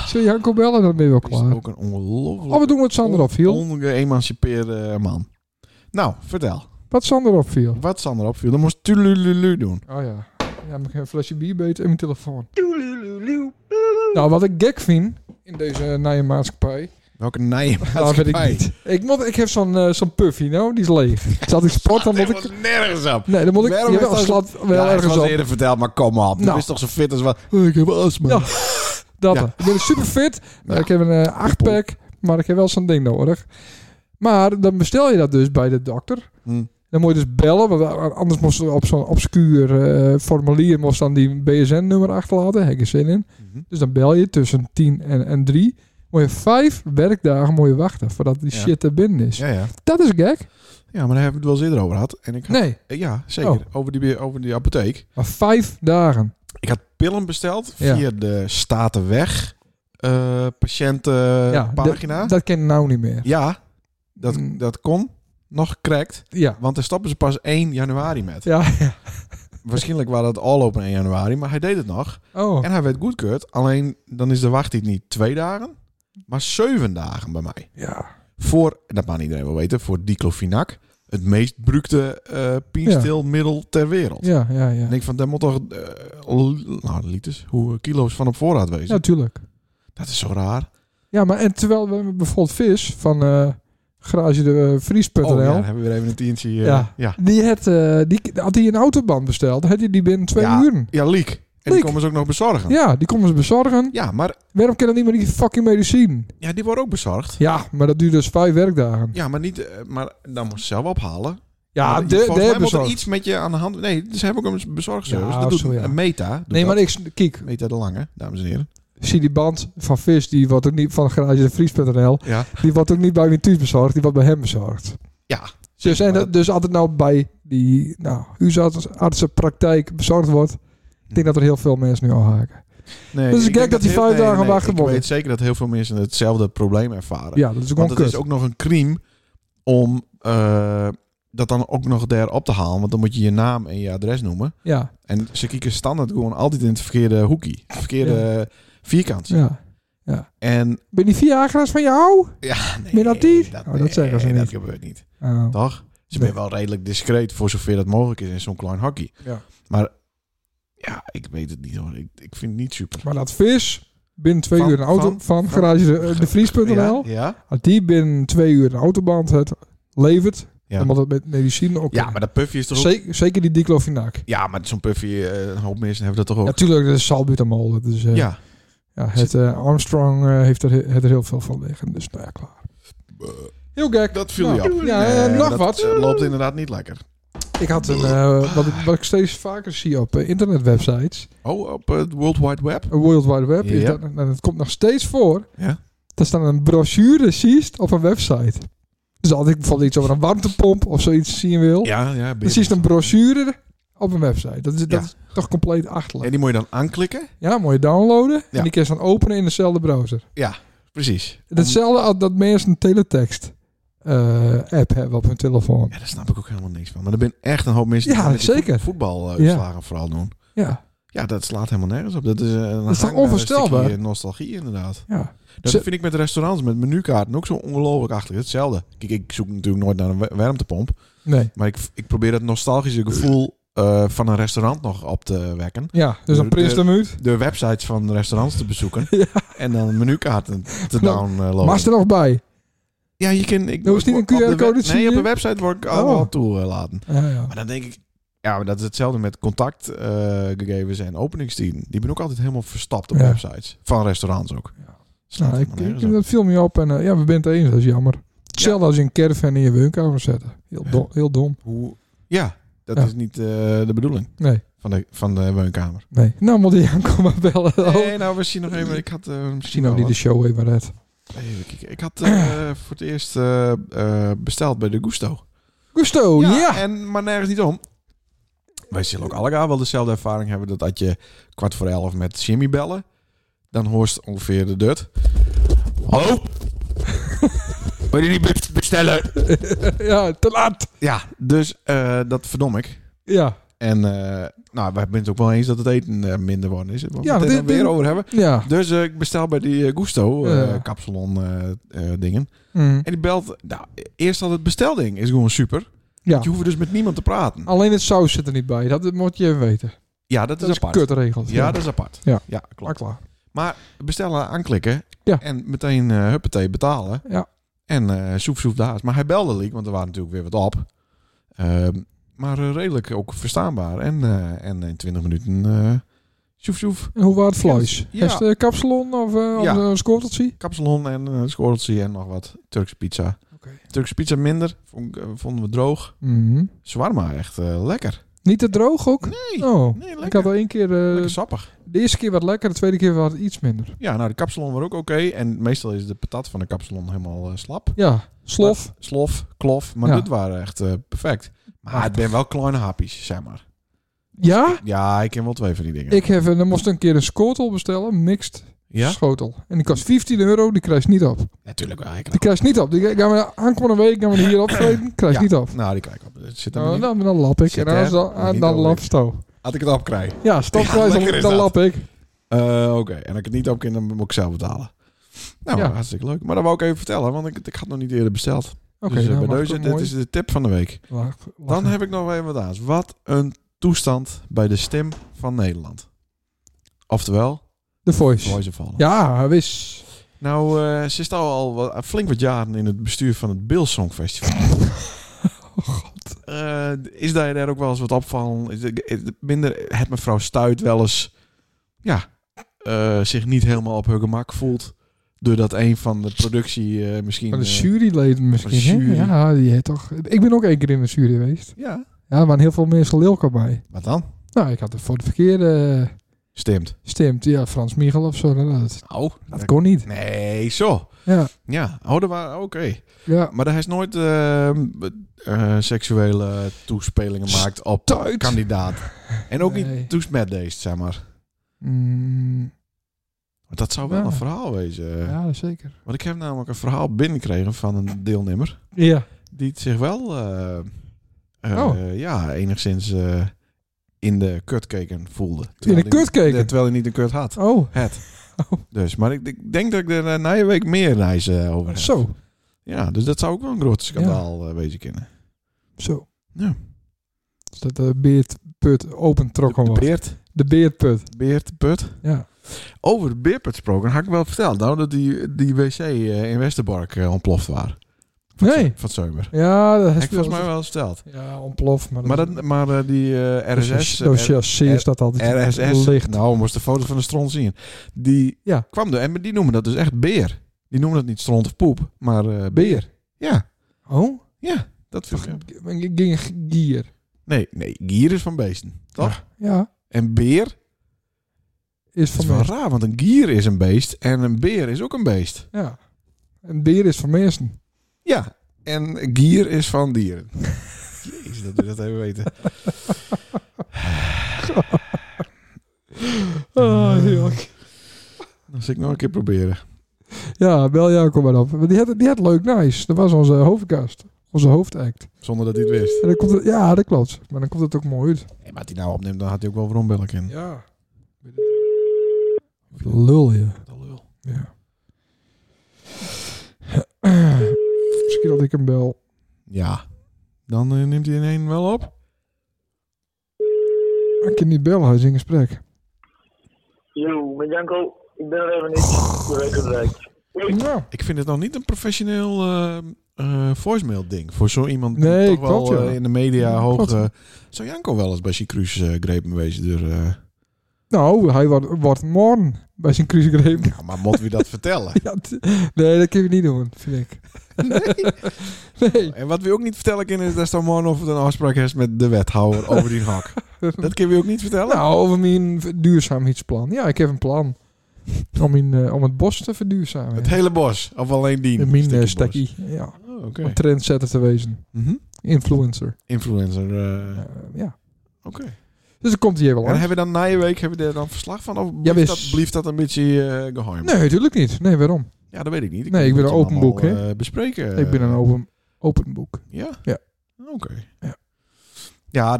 [SPEAKER 1] Zul je Janko bellen? Dan ben je wel
[SPEAKER 2] het Ah. is
[SPEAKER 1] klaar.
[SPEAKER 2] ook een ongelooflijk...
[SPEAKER 1] Oh, we doen wat Sander opviel.
[SPEAKER 2] Ongeëmancipeerde man. Nou, vertel.
[SPEAKER 1] Wat Sander opviel.
[SPEAKER 2] Wat Sander opviel, dan moest tulululu doen.
[SPEAKER 1] Oh ja. Ja, maar ik heb een flesje bier beet en mijn telefoon. Nou, wat ik gek vind in deze nieuwe maatschappij...
[SPEAKER 2] Welke
[SPEAKER 1] *laughs*
[SPEAKER 2] nije
[SPEAKER 1] Dat
[SPEAKER 2] *laughs*
[SPEAKER 1] Nou, weet ik
[SPEAKER 2] maatschappij.
[SPEAKER 1] niet. Ik, moet, ik heb zo'n eh, zo'n puffy, nou, die is leeg. Zat ik
[SPEAKER 2] *laughs*
[SPEAKER 1] sport, dan moet
[SPEAKER 2] Ah, Dit
[SPEAKER 1] ik...
[SPEAKER 2] was nergens op.
[SPEAKER 1] Nee, dan moet ik...
[SPEAKER 2] Waarom
[SPEAKER 1] Ja,
[SPEAKER 2] is
[SPEAKER 1] wel,
[SPEAKER 2] dat zo-
[SPEAKER 1] slaat wel
[SPEAKER 2] Ja, het
[SPEAKER 1] ergens
[SPEAKER 2] was
[SPEAKER 1] op.
[SPEAKER 2] eerder verteld, maar kom op. Dat
[SPEAKER 1] Nou.
[SPEAKER 2] is toch zo fit als wat... Oh, ik heb astma.
[SPEAKER 1] Ja. Dat.
[SPEAKER 2] Ja.
[SPEAKER 1] Ik ben super fit.
[SPEAKER 2] Ja.
[SPEAKER 1] Ik heb een eh, achtpack, maar ik heb wel zo'n ding nodig. Maar dan bestel je dat dus bij de dokter.
[SPEAKER 2] Hm.
[SPEAKER 1] Dan moet je dus bellen, want anders moest je op zo'n obscuur eh, formulier moest dan die BSN-nummer achterlaten. Daar heb ik geen zin in.
[SPEAKER 2] Mhm.
[SPEAKER 1] Dus dan bel je tussen 10 en, en 3. Moet je vijf werkdagen moet je wachten voordat die
[SPEAKER 2] Ja.
[SPEAKER 1] shit er binnen is.
[SPEAKER 2] Ja, ja.
[SPEAKER 1] Dat is gek.
[SPEAKER 2] ja, maar daar hebben we het wel eens eerder over gehad. En ik had,
[SPEAKER 1] Nee,
[SPEAKER 2] Eh, Ja, zeker.
[SPEAKER 1] Oh.
[SPEAKER 2] Over, die, over die apotheek.
[SPEAKER 1] maar vijf dagen.
[SPEAKER 2] Ik had pillen besteld
[SPEAKER 1] Ja.
[SPEAKER 2] via de Statenweg eh patiëntenpagina.
[SPEAKER 1] Dat ken ik nou niet meer.
[SPEAKER 2] ja, dat,
[SPEAKER 1] Mm.
[SPEAKER 2] dat kon. Nog cracked.
[SPEAKER 1] Ja.
[SPEAKER 2] Want daar stoppen ze pas 1 januari met.
[SPEAKER 1] Ja. ja.
[SPEAKER 2] Waarschijnlijk waren dat al open 1 januari, maar hij deed het nog.
[SPEAKER 1] Oh.
[SPEAKER 2] En hij werd goedkeurd. Alleen dan is de wachttijd niet twee dagen, maar zeven dagen bij mij.
[SPEAKER 1] Ja.
[SPEAKER 2] Voor, en dat mag iedereen wel weten, voor diclofenac. Het meest brukte eh pienstilmiddel ter wereld.
[SPEAKER 1] Ja, ja, ja.
[SPEAKER 2] En ik van, daar moet toch eh, l- nou, liters, hoe kilo's van op voorraad wezen.
[SPEAKER 1] Natuurlijk.
[SPEAKER 2] Dat is zo raar.
[SPEAKER 1] Ja, maar en terwijl we bijvoorbeeld vis van eh garage de eh, Vries.nl,
[SPEAKER 2] Oh, ja, dan hebben we weer even een tientje. eh,
[SPEAKER 1] Ja.
[SPEAKER 2] ja. ja.
[SPEAKER 1] die, had, eh, die had hij een autoband besteld, had hij die binnen twee
[SPEAKER 2] Ja.
[SPEAKER 1] uren.
[SPEAKER 2] leak. En die
[SPEAKER 1] Leak.
[SPEAKER 2] komen ze ook nog bezorgen. Ja,
[SPEAKER 1] Ja, die konden ze bezorgen.
[SPEAKER 2] maar
[SPEAKER 1] Waarom kan dan niet meer die fucking medicijn?
[SPEAKER 2] ja, die worden ook bezorgd.
[SPEAKER 1] Ja, maar dat duurt dus vijf werkdagen.
[SPEAKER 2] Ja, maar, niet, eh, maar dan moet ze zelf ophalen.
[SPEAKER 1] Ja,
[SPEAKER 2] Maar
[SPEAKER 1] de,
[SPEAKER 2] die-
[SPEAKER 1] de,
[SPEAKER 2] volgens mij moet er
[SPEAKER 1] bezorgd.
[SPEAKER 2] iets met je aan de hand... Nee, dus ze hebben ook een bezorgservice.
[SPEAKER 1] Ja,
[SPEAKER 2] Dus dat doet
[SPEAKER 1] zo, ja.
[SPEAKER 2] een Meta. doet
[SPEAKER 1] Nee, maar
[SPEAKER 2] dat.
[SPEAKER 1] ik, kijk,
[SPEAKER 2] Meta de Lange, dames en heren.
[SPEAKER 1] zie die band van vis, die wordt ook niet van garage de Vries.nl,
[SPEAKER 2] Ja,
[SPEAKER 1] die wordt ook niet bij mijn thuis bezorgd, die wordt bij hem bezorgd.
[SPEAKER 2] ja.
[SPEAKER 1] Dus,
[SPEAKER 2] maar
[SPEAKER 1] en
[SPEAKER 2] dat-
[SPEAKER 1] dat, dus altijd nou bij die nou, huisarts- artsenpraktijk bezorgd wordt. Ik denk dat er heel veel mensen nu al haken.
[SPEAKER 2] Nee,
[SPEAKER 1] het is
[SPEAKER 2] ik
[SPEAKER 1] gek
[SPEAKER 2] denk
[SPEAKER 1] Dus dat die
[SPEAKER 2] heel-
[SPEAKER 1] vijf
[SPEAKER 2] nee,
[SPEAKER 1] dagen
[SPEAKER 2] nee,
[SPEAKER 1] wachten
[SPEAKER 2] Ik
[SPEAKER 1] worden.
[SPEAKER 2] weet zeker dat heel veel mensen hetzelfde probleem ervaren.
[SPEAKER 1] Ja, dat is ook
[SPEAKER 2] Want het
[SPEAKER 1] wel kut.
[SPEAKER 2] is ook nog een crime om eh, dat dan ook nog daar op te halen. Want dan moet je je naam en je adres noemen.
[SPEAKER 1] Ja,
[SPEAKER 2] En ze kieken standaard gewoon altijd in het verkeerde hoekie. Het verkeerde eh, vierkant.
[SPEAKER 1] ja.
[SPEAKER 2] En
[SPEAKER 1] Ben die Viagra's van jou?
[SPEAKER 2] ja, nee,
[SPEAKER 1] Ben je dat niet?
[SPEAKER 2] Dat,
[SPEAKER 1] Oh, dat zeggen ze
[SPEAKER 2] nee,
[SPEAKER 1] niet.
[SPEAKER 2] Dat gebeurt niet.
[SPEAKER 1] Oh.
[SPEAKER 2] Toch? Ze
[SPEAKER 1] Nee.
[SPEAKER 2] zijn wel redelijk discreet voor zover dat mogelijk is in zo'n klein hockey.
[SPEAKER 1] Ja.
[SPEAKER 2] Maar ja, ik weet het niet hoor. Ik, ik vind het niet super.
[SPEAKER 1] Maar dat vis, binnen twee
[SPEAKER 2] Van-
[SPEAKER 1] uur een auto
[SPEAKER 2] van-
[SPEAKER 1] van,
[SPEAKER 2] van-
[SPEAKER 1] garage eh, de, de Vries.nl.
[SPEAKER 2] ja, ja,
[SPEAKER 1] Als die binnen twee uur een autoband het levert,
[SPEAKER 2] Ja.
[SPEAKER 1] dan moet dat met medicine ook.
[SPEAKER 2] ja, maar dat puffje is toch ook...
[SPEAKER 1] zeker, zeker die diclofenac.
[SPEAKER 2] Ja, maar zo'n puffje, eh een hoop mensen hebben dat toch ook.
[SPEAKER 1] Natuurlijk, dat is salbutamol. Dat is, eh, ja.
[SPEAKER 2] Ja.
[SPEAKER 1] het, eh, Armstrong eh, heeft er, het er heel veel van liggen. Dus nou ja, klaar. Heel gek.
[SPEAKER 2] Dat viel je
[SPEAKER 1] Nou,
[SPEAKER 2] af.
[SPEAKER 1] Ja,
[SPEAKER 2] Nee,
[SPEAKER 1] eh,
[SPEAKER 2] maar
[SPEAKER 1] nog
[SPEAKER 2] dat,
[SPEAKER 1] wat.
[SPEAKER 2] eh, loopt inderdaad niet lekker.
[SPEAKER 1] Ik had een, eh, wat, ik, wat ik steeds vaker zie op eh, internetwebsites,
[SPEAKER 2] Oh, op het World Wide Web?
[SPEAKER 1] een World Wide Web, is
[SPEAKER 2] Ja.
[SPEAKER 1] dat, en het komt nog steeds voor,
[SPEAKER 2] Ja.
[SPEAKER 1] dat staan een brochure ziet op een website. Dus als ik bijvoorbeeld iets over een warmtepomp of zoiets zien wil,
[SPEAKER 2] Ja, ja.
[SPEAKER 1] dan zie je een brochure op een website. Dat is, dat
[SPEAKER 2] Ja.
[SPEAKER 1] is toch compleet
[SPEAKER 2] En
[SPEAKER 1] achterlijk.
[SPEAKER 2] die moet je dan aanklikken?
[SPEAKER 1] Ja, moet je downloaden
[SPEAKER 2] Ja.
[SPEAKER 1] en die kun je dan openen in dezelfde browser.
[SPEAKER 2] Precies.
[SPEAKER 1] Hetzelfde als dat mensen een teletext eh, app hebben op hun telefoon.
[SPEAKER 2] Ja, daar snap ik ook helemaal niks van. Maar er zijn echt een hoop mensen
[SPEAKER 1] Ja,
[SPEAKER 2] die met die
[SPEAKER 1] zeker.
[SPEAKER 2] voetbaluitslagen vooral doen.
[SPEAKER 1] Ja,
[SPEAKER 2] Ja, dat slaat helemaal nergens op. Dat is eh, een
[SPEAKER 1] is toch
[SPEAKER 2] hang naar een
[SPEAKER 1] onvoorstelbaar?
[SPEAKER 2] stukje nostalgie inderdaad. Nou,
[SPEAKER 1] ja.
[SPEAKER 2] Dat
[SPEAKER 1] Ze-
[SPEAKER 2] vind ik met restaurants, met menukaarten ook zo ongelooflijk achter. Hetzelfde. Kijk, ik zoek natuurlijk nooit naar een wa- warmtepomp.
[SPEAKER 1] Nee.
[SPEAKER 2] Maar ik, ik probeer dat nostalgische gevoel eh, van een restaurant nog op te wekken.
[SPEAKER 1] Ja, dus dan
[SPEAKER 2] De-
[SPEAKER 1] prins de muut.
[SPEAKER 2] De websites van restaurants te
[SPEAKER 1] *laughs*
[SPEAKER 2] bezoeken. En dan menukaarten te
[SPEAKER 1] Nou,
[SPEAKER 2] downloaden.
[SPEAKER 1] Maar is er nog bij.
[SPEAKER 2] Ja, je kan... Ik,
[SPEAKER 1] Er hoeft niet een
[SPEAKER 2] op de
[SPEAKER 1] QR-code
[SPEAKER 2] web-
[SPEAKER 1] te
[SPEAKER 2] Nee,
[SPEAKER 1] zien.
[SPEAKER 2] op een website word ik allemaal
[SPEAKER 1] Oh.
[SPEAKER 2] toegelaten.
[SPEAKER 1] Ja, Nou, ja.
[SPEAKER 2] Maar dan denk ik... Ja, maar dat is hetzelfde met contactgegevens eh, en openingstijden. Die ben ook altijd helemaal verstapt op
[SPEAKER 1] Ja.
[SPEAKER 2] websites. Van restaurants ook.
[SPEAKER 1] Ja.
[SPEAKER 2] Slaat
[SPEAKER 1] Nou, ik,
[SPEAKER 2] helemaal
[SPEAKER 1] ik,
[SPEAKER 2] nergens op.
[SPEAKER 1] dat viel me op en eh, ja, we bent het eens, dat is jammer. Hetzelfde als je een caravan in je woonkamer zetten. Heel, dom, heel dom.
[SPEAKER 2] Hoe... Ja, dat
[SPEAKER 1] Ja.
[SPEAKER 2] is niet eh, de bedoeling
[SPEAKER 1] Nee,
[SPEAKER 2] van de, van de woonkamer.
[SPEAKER 1] nee. Nou moet hij aankomen *laughs* bellen. Oh.
[SPEAKER 2] Nee, nou, we zien nog even... Ik had eh, misschien
[SPEAKER 1] Misschien ook
[SPEAKER 2] wel
[SPEAKER 1] niet dus- de show even red.
[SPEAKER 2] wat- even kijken. Ik had eh, voor het eerst eh, eh, besteld bij de Gusto.
[SPEAKER 1] Gusto, ja.
[SPEAKER 2] En, maar nergens niet om. Oh, Wij zullen ook allemaal wel dezelfde ervaring hebben. Dat als je kwart voor elf met Jimmy bellen. Dan hoorst ongeveer de dut. Hallo? Wil je niet be- bestellen?
[SPEAKER 1] Ja, te laat.
[SPEAKER 2] Ja, dus eh, dat verdom ik.
[SPEAKER 1] Ja,
[SPEAKER 2] En eh, nou, wij zijn het ook wel eens dat het eten eh, minder worden is. Waar we
[SPEAKER 1] Ja,
[SPEAKER 2] het
[SPEAKER 1] dit-
[SPEAKER 2] dan weer
[SPEAKER 1] dit-
[SPEAKER 2] over hebben.
[SPEAKER 1] ja.
[SPEAKER 2] Dus eh, ik bestel bij die eh, Gusto eh
[SPEAKER 1] Ja.
[SPEAKER 2] kapsalon eh, eh, dingen.
[SPEAKER 1] Mm.
[SPEAKER 2] En die belt. Nou, eerst al het bestelding is gewoon super.
[SPEAKER 1] ja.
[SPEAKER 2] Je hoeft dus met niemand te praten.
[SPEAKER 1] Alleen het saus zit er niet bij. Dat moet je even weten. Dat,
[SPEAKER 2] Ja, dat, is
[SPEAKER 1] is, een
[SPEAKER 2] apart.
[SPEAKER 1] kutregel.
[SPEAKER 2] Ja, dat is apart.
[SPEAKER 1] Ja.
[SPEAKER 2] klopt.
[SPEAKER 1] Maar klaar.
[SPEAKER 2] Maar bestellen, aanklikken
[SPEAKER 1] Ja.
[SPEAKER 2] en meteen eh huppatee betalen.
[SPEAKER 1] Ja.
[SPEAKER 2] En eh soef soef daar. is. Maar hij belde leak, want er waren natuurlijk weer wat op. Ehm, maar eh, redelijk ook verstaanbaar. En, eh, en in 20 minuten eh Sjoef, sjoef.
[SPEAKER 1] En hoe was het vlees?
[SPEAKER 2] Ja.
[SPEAKER 1] Is het eh, kapsalon of, eh, of
[SPEAKER 2] Ja.
[SPEAKER 1] een scorteltje?
[SPEAKER 2] Kapsalon en eh scorreltje en nog wat. Turkse pizza.
[SPEAKER 1] Oké.
[SPEAKER 2] Turkse pizza minder. Vond, ik, eh, vonden we droog.
[SPEAKER 1] Mhm.
[SPEAKER 2] Zwarma echt eh, lekker.
[SPEAKER 1] Niet te droog ook?
[SPEAKER 2] Nee.
[SPEAKER 1] Oh,
[SPEAKER 2] Nee,
[SPEAKER 1] ik
[SPEAKER 2] lekker.
[SPEAKER 1] had al één keer... eh,
[SPEAKER 2] lekker sappig.
[SPEAKER 1] de eerste keer wat lekker, de tweede keer wat iets minder.
[SPEAKER 2] Ja, nou de kapsalon was ook oké. En meestal is de patat van de kapsalon helemaal eh, slap.
[SPEAKER 1] Ja, slof.
[SPEAKER 2] Maar- slof, klof. Ah, Maar
[SPEAKER 1] Ja.
[SPEAKER 2] dit waren echt eh, perfect. Maar het ben wel kleine hapjes, zeg maar.
[SPEAKER 1] Ja?
[SPEAKER 2] Ja, ik ken wel twee van die dingen.
[SPEAKER 1] Ik heb, eh, dan moest ik een keer een schotel bestellen, mixed
[SPEAKER 2] ja?
[SPEAKER 1] schotel. En die kost 15 euro, die krijg je niet op.
[SPEAKER 2] Natuurlijk wel. ik-
[SPEAKER 1] Die krijg je niet op. Die gaan we aankomende week gaan we die hier opvreten, krijg je
[SPEAKER 2] Ja.
[SPEAKER 1] niet op.
[SPEAKER 2] Nou, die kijk ik op. Het Zit er
[SPEAKER 1] Nou,
[SPEAKER 2] niet-
[SPEAKER 1] dan, dan lap ik.
[SPEAKER 2] Zit
[SPEAKER 1] en als
[SPEAKER 2] er
[SPEAKER 1] dan,
[SPEAKER 2] niet
[SPEAKER 1] en dan
[SPEAKER 2] over.
[SPEAKER 1] lap sto.
[SPEAKER 2] Had ik het opkrijg.
[SPEAKER 1] Ja, stofprijs,
[SPEAKER 2] Ja, lekker
[SPEAKER 1] dan,
[SPEAKER 2] is
[SPEAKER 1] dan
[SPEAKER 2] dat.
[SPEAKER 1] lap ik.
[SPEAKER 2] Eh, Oké, en als ik het niet op kan, dan moet ik zelf betalen. Nou,
[SPEAKER 1] Ja.
[SPEAKER 2] hartstikke leuk. Maar dat wou ik even vertellen, want ik, ik had nog niet eerder besteld.
[SPEAKER 1] Oké,
[SPEAKER 2] dus eh,
[SPEAKER 1] nou,
[SPEAKER 2] bij
[SPEAKER 1] mag
[SPEAKER 2] deze,
[SPEAKER 1] ik ook
[SPEAKER 2] dit
[SPEAKER 1] mooi.
[SPEAKER 2] is de tip van de week.
[SPEAKER 1] Wacht, wacht.
[SPEAKER 2] Dan heb ik nog even wat aan. Wat een toestand bij de stem van Nederland. Oftewel,
[SPEAKER 1] de voice.
[SPEAKER 2] Voice of Holland.
[SPEAKER 1] Ja, wis.
[SPEAKER 2] Nou, eh, ze is nou al wat- flink wat jaren in het bestuur van het Bill Song Festival. Oh, Eh, is daar daar ook wel eens wat opvallen? Is de- is de- Minder het mevrouw Stuit wel eens ja, eh, zich niet helemaal op haar gemak voelt. Doordat een van de productie eh, misschien.
[SPEAKER 1] Van de
[SPEAKER 2] eh,
[SPEAKER 1] juryleden
[SPEAKER 2] van
[SPEAKER 1] misschien.
[SPEAKER 2] de
[SPEAKER 1] hè?
[SPEAKER 2] jury.
[SPEAKER 1] Ja, die heeft toch. Ik ben ook één keer in de jury geweest.
[SPEAKER 2] ja.
[SPEAKER 1] Ja, er waren heel veel mensen lilker bij.
[SPEAKER 2] Wat dan?
[SPEAKER 1] Nou, ik had er voor de verkeerde
[SPEAKER 2] Stemt.
[SPEAKER 1] stemt. Ja, Frans Michel of zo. Nou, dat,
[SPEAKER 2] Oh,
[SPEAKER 1] dat kon niet.
[SPEAKER 2] Nee, zo.
[SPEAKER 1] Ja,
[SPEAKER 2] Ja, oh, dat waren. Oké.
[SPEAKER 1] ja.
[SPEAKER 2] Maar daar is nooit eh, eh, seksuele toespelingen gemaakt op
[SPEAKER 1] Stuit.
[SPEAKER 2] kandidaat. En ook
[SPEAKER 1] Nee.
[SPEAKER 2] niet toes met deze, zeg maar.
[SPEAKER 1] Mm,
[SPEAKER 2] Want dat zou wel
[SPEAKER 1] Ja.
[SPEAKER 2] een verhaal wezen.
[SPEAKER 1] ja, zeker.
[SPEAKER 2] Want ik heb namelijk een verhaal binnengekregen van een deelnemer.
[SPEAKER 1] Ja.
[SPEAKER 2] Die het zich wel eh, eh,
[SPEAKER 1] Oh.
[SPEAKER 2] ja, enigszins eh, in de kut keken voelde.
[SPEAKER 1] In de
[SPEAKER 2] Terwijl
[SPEAKER 1] kut
[SPEAKER 2] hij-
[SPEAKER 1] keken.
[SPEAKER 2] Terwijl hij niet een kut had.
[SPEAKER 1] Oh,
[SPEAKER 2] Het.
[SPEAKER 1] Oh.
[SPEAKER 2] Dus, maar ik, ik denk dat ik er eh, na je week meer naar eh over heb.
[SPEAKER 1] zo.
[SPEAKER 2] Ja, dus dat zou ook wel een groot schandaal eh, wezen kunnen.
[SPEAKER 1] Zo.
[SPEAKER 2] Ja.
[SPEAKER 1] Dus dat de beertput open trok.
[SPEAKER 2] De
[SPEAKER 1] De,
[SPEAKER 2] beert,
[SPEAKER 1] de beertput.
[SPEAKER 2] beert, put.
[SPEAKER 1] Ja.
[SPEAKER 2] Over de beerput gesproken, had ik wel verteld nou, dat die, die wc eh, in Westerbork eh, ontploft waren. Van
[SPEAKER 1] Nee.
[SPEAKER 2] het- Van het zomer.
[SPEAKER 1] Ja, dat
[SPEAKER 2] Heb
[SPEAKER 1] is
[SPEAKER 2] ik volgens mij wel verteld.
[SPEAKER 1] Ja, ontplof. Maar,
[SPEAKER 2] Maar, dat, maar eh, die eh, RSS...
[SPEAKER 1] Zo chassé is dat
[SPEAKER 2] eh,
[SPEAKER 1] altijd.
[SPEAKER 2] RSS,
[SPEAKER 1] Licht.
[SPEAKER 2] nou, we moesten de foto van de stront zien. Die
[SPEAKER 1] Ja.
[SPEAKER 2] kwam door, en die noemen dat dus echt beer. Die noemen dat niet stront of poep, maar eh, beer. Ja,
[SPEAKER 1] Oh?
[SPEAKER 2] ja, dat vind ik.
[SPEAKER 1] G- Ging g- gier.
[SPEAKER 2] Nee, nee, gier is van beesten, toch?
[SPEAKER 1] Ja.
[SPEAKER 2] En beer
[SPEAKER 1] Is
[SPEAKER 2] dat
[SPEAKER 1] van
[SPEAKER 2] is wel
[SPEAKER 1] mensen.
[SPEAKER 2] raar, want een gier is een beest en een beer is ook een beest.
[SPEAKER 1] Ja. Een beer is van mensen.
[SPEAKER 2] Ja, en gier is van dieren. *laughs* Jezus, dat we dat even weten.
[SPEAKER 1] Ah, heerlijk.
[SPEAKER 2] Dan zal ik nog een keer proberen.
[SPEAKER 1] Ja, bel Jacob maar op. Want Die had, die had leuk nice. Dat was onze hoofdkast. Onze hoofdact.
[SPEAKER 2] Zonder dat hij het wist.
[SPEAKER 1] En dan komt het, ja, dat klopt. Maar dan komt het ook mooi uit.
[SPEAKER 2] Nee, maar als hij nou opneemt, dan had hij ook wel vrombelk in.
[SPEAKER 1] Ja. Lul je. Ja. *clears throat* Misschien dat ik hem bel.
[SPEAKER 2] Ja. Dan eh, neemt hij in één wel op.
[SPEAKER 1] Ik kan niet bellen, hij is in gesprek.
[SPEAKER 4] Yo, met Janko. Ik ben er even niet. Je weet het lijkt.
[SPEAKER 1] Nou,
[SPEAKER 2] Ik vind het nog niet een professioneel eh, eh, voicemail-ding. Voor zo iemand
[SPEAKER 1] Nee,
[SPEAKER 2] die toch wel
[SPEAKER 1] klopt, ja.
[SPEAKER 2] eh, in de media
[SPEAKER 1] Ja,
[SPEAKER 2] hoog...
[SPEAKER 1] klopt.
[SPEAKER 2] eh, zou Janko wel eens bij Cicrus eh grepen wezen door... eh,
[SPEAKER 1] nou hij wordt, wordt morgen bij zijn cruisegreep.
[SPEAKER 2] Ja, maar moet wie dat vertellen?
[SPEAKER 1] *laughs* Ja, t- nee, dat kun je niet doen, vind ik. *laughs* Nee.
[SPEAKER 2] En wat we ook niet vertellen kunnen is dat Stan Morgenhoff een afspraak heeft met de wethouder over die
[SPEAKER 1] *laughs*
[SPEAKER 2] hak. Dat kunnen we ook niet vertellen?
[SPEAKER 1] Nou, over mijn v- duurzaamheidsplan. Ja, ik heb een plan om, mijn, eh, om het bos te verduurzamen.
[SPEAKER 2] Het hele bos, of alleen die?
[SPEAKER 1] In mijn
[SPEAKER 2] stukje
[SPEAKER 1] eh,
[SPEAKER 2] bos?
[SPEAKER 1] stekkie. Ja,
[SPEAKER 2] Oh,
[SPEAKER 1] om
[SPEAKER 2] Oké.
[SPEAKER 1] trendsetter te wezen.
[SPEAKER 2] Mhm.
[SPEAKER 1] Influencer.
[SPEAKER 2] Influencer. eh,
[SPEAKER 1] Eh, ja.
[SPEAKER 2] Oké.
[SPEAKER 1] Dus dan komt hij hier wel
[SPEAKER 2] En
[SPEAKER 1] aan.
[SPEAKER 2] hebben we dan na je week hebben we daar dan verslag van? Of
[SPEAKER 1] Ja,
[SPEAKER 2] blijft,
[SPEAKER 1] wis.
[SPEAKER 2] dat, blijft dat een beetje eh, geheim?
[SPEAKER 1] Nee, natuurlijk niet. Nee, waarom?
[SPEAKER 2] Ja, dat weet ik niet.
[SPEAKER 1] Nee, ik
[SPEAKER 2] moet
[SPEAKER 1] ben een
[SPEAKER 2] het
[SPEAKER 1] open
[SPEAKER 2] allemaal,
[SPEAKER 1] boek, hè?
[SPEAKER 2] eh, bespreken.
[SPEAKER 1] ik ben een open, open boek.
[SPEAKER 2] Ja?
[SPEAKER 1] Ja.
[SPEAKER 2] Oké.
[SPEAKER 1] Ja.
[SPEAKER 2] Ja.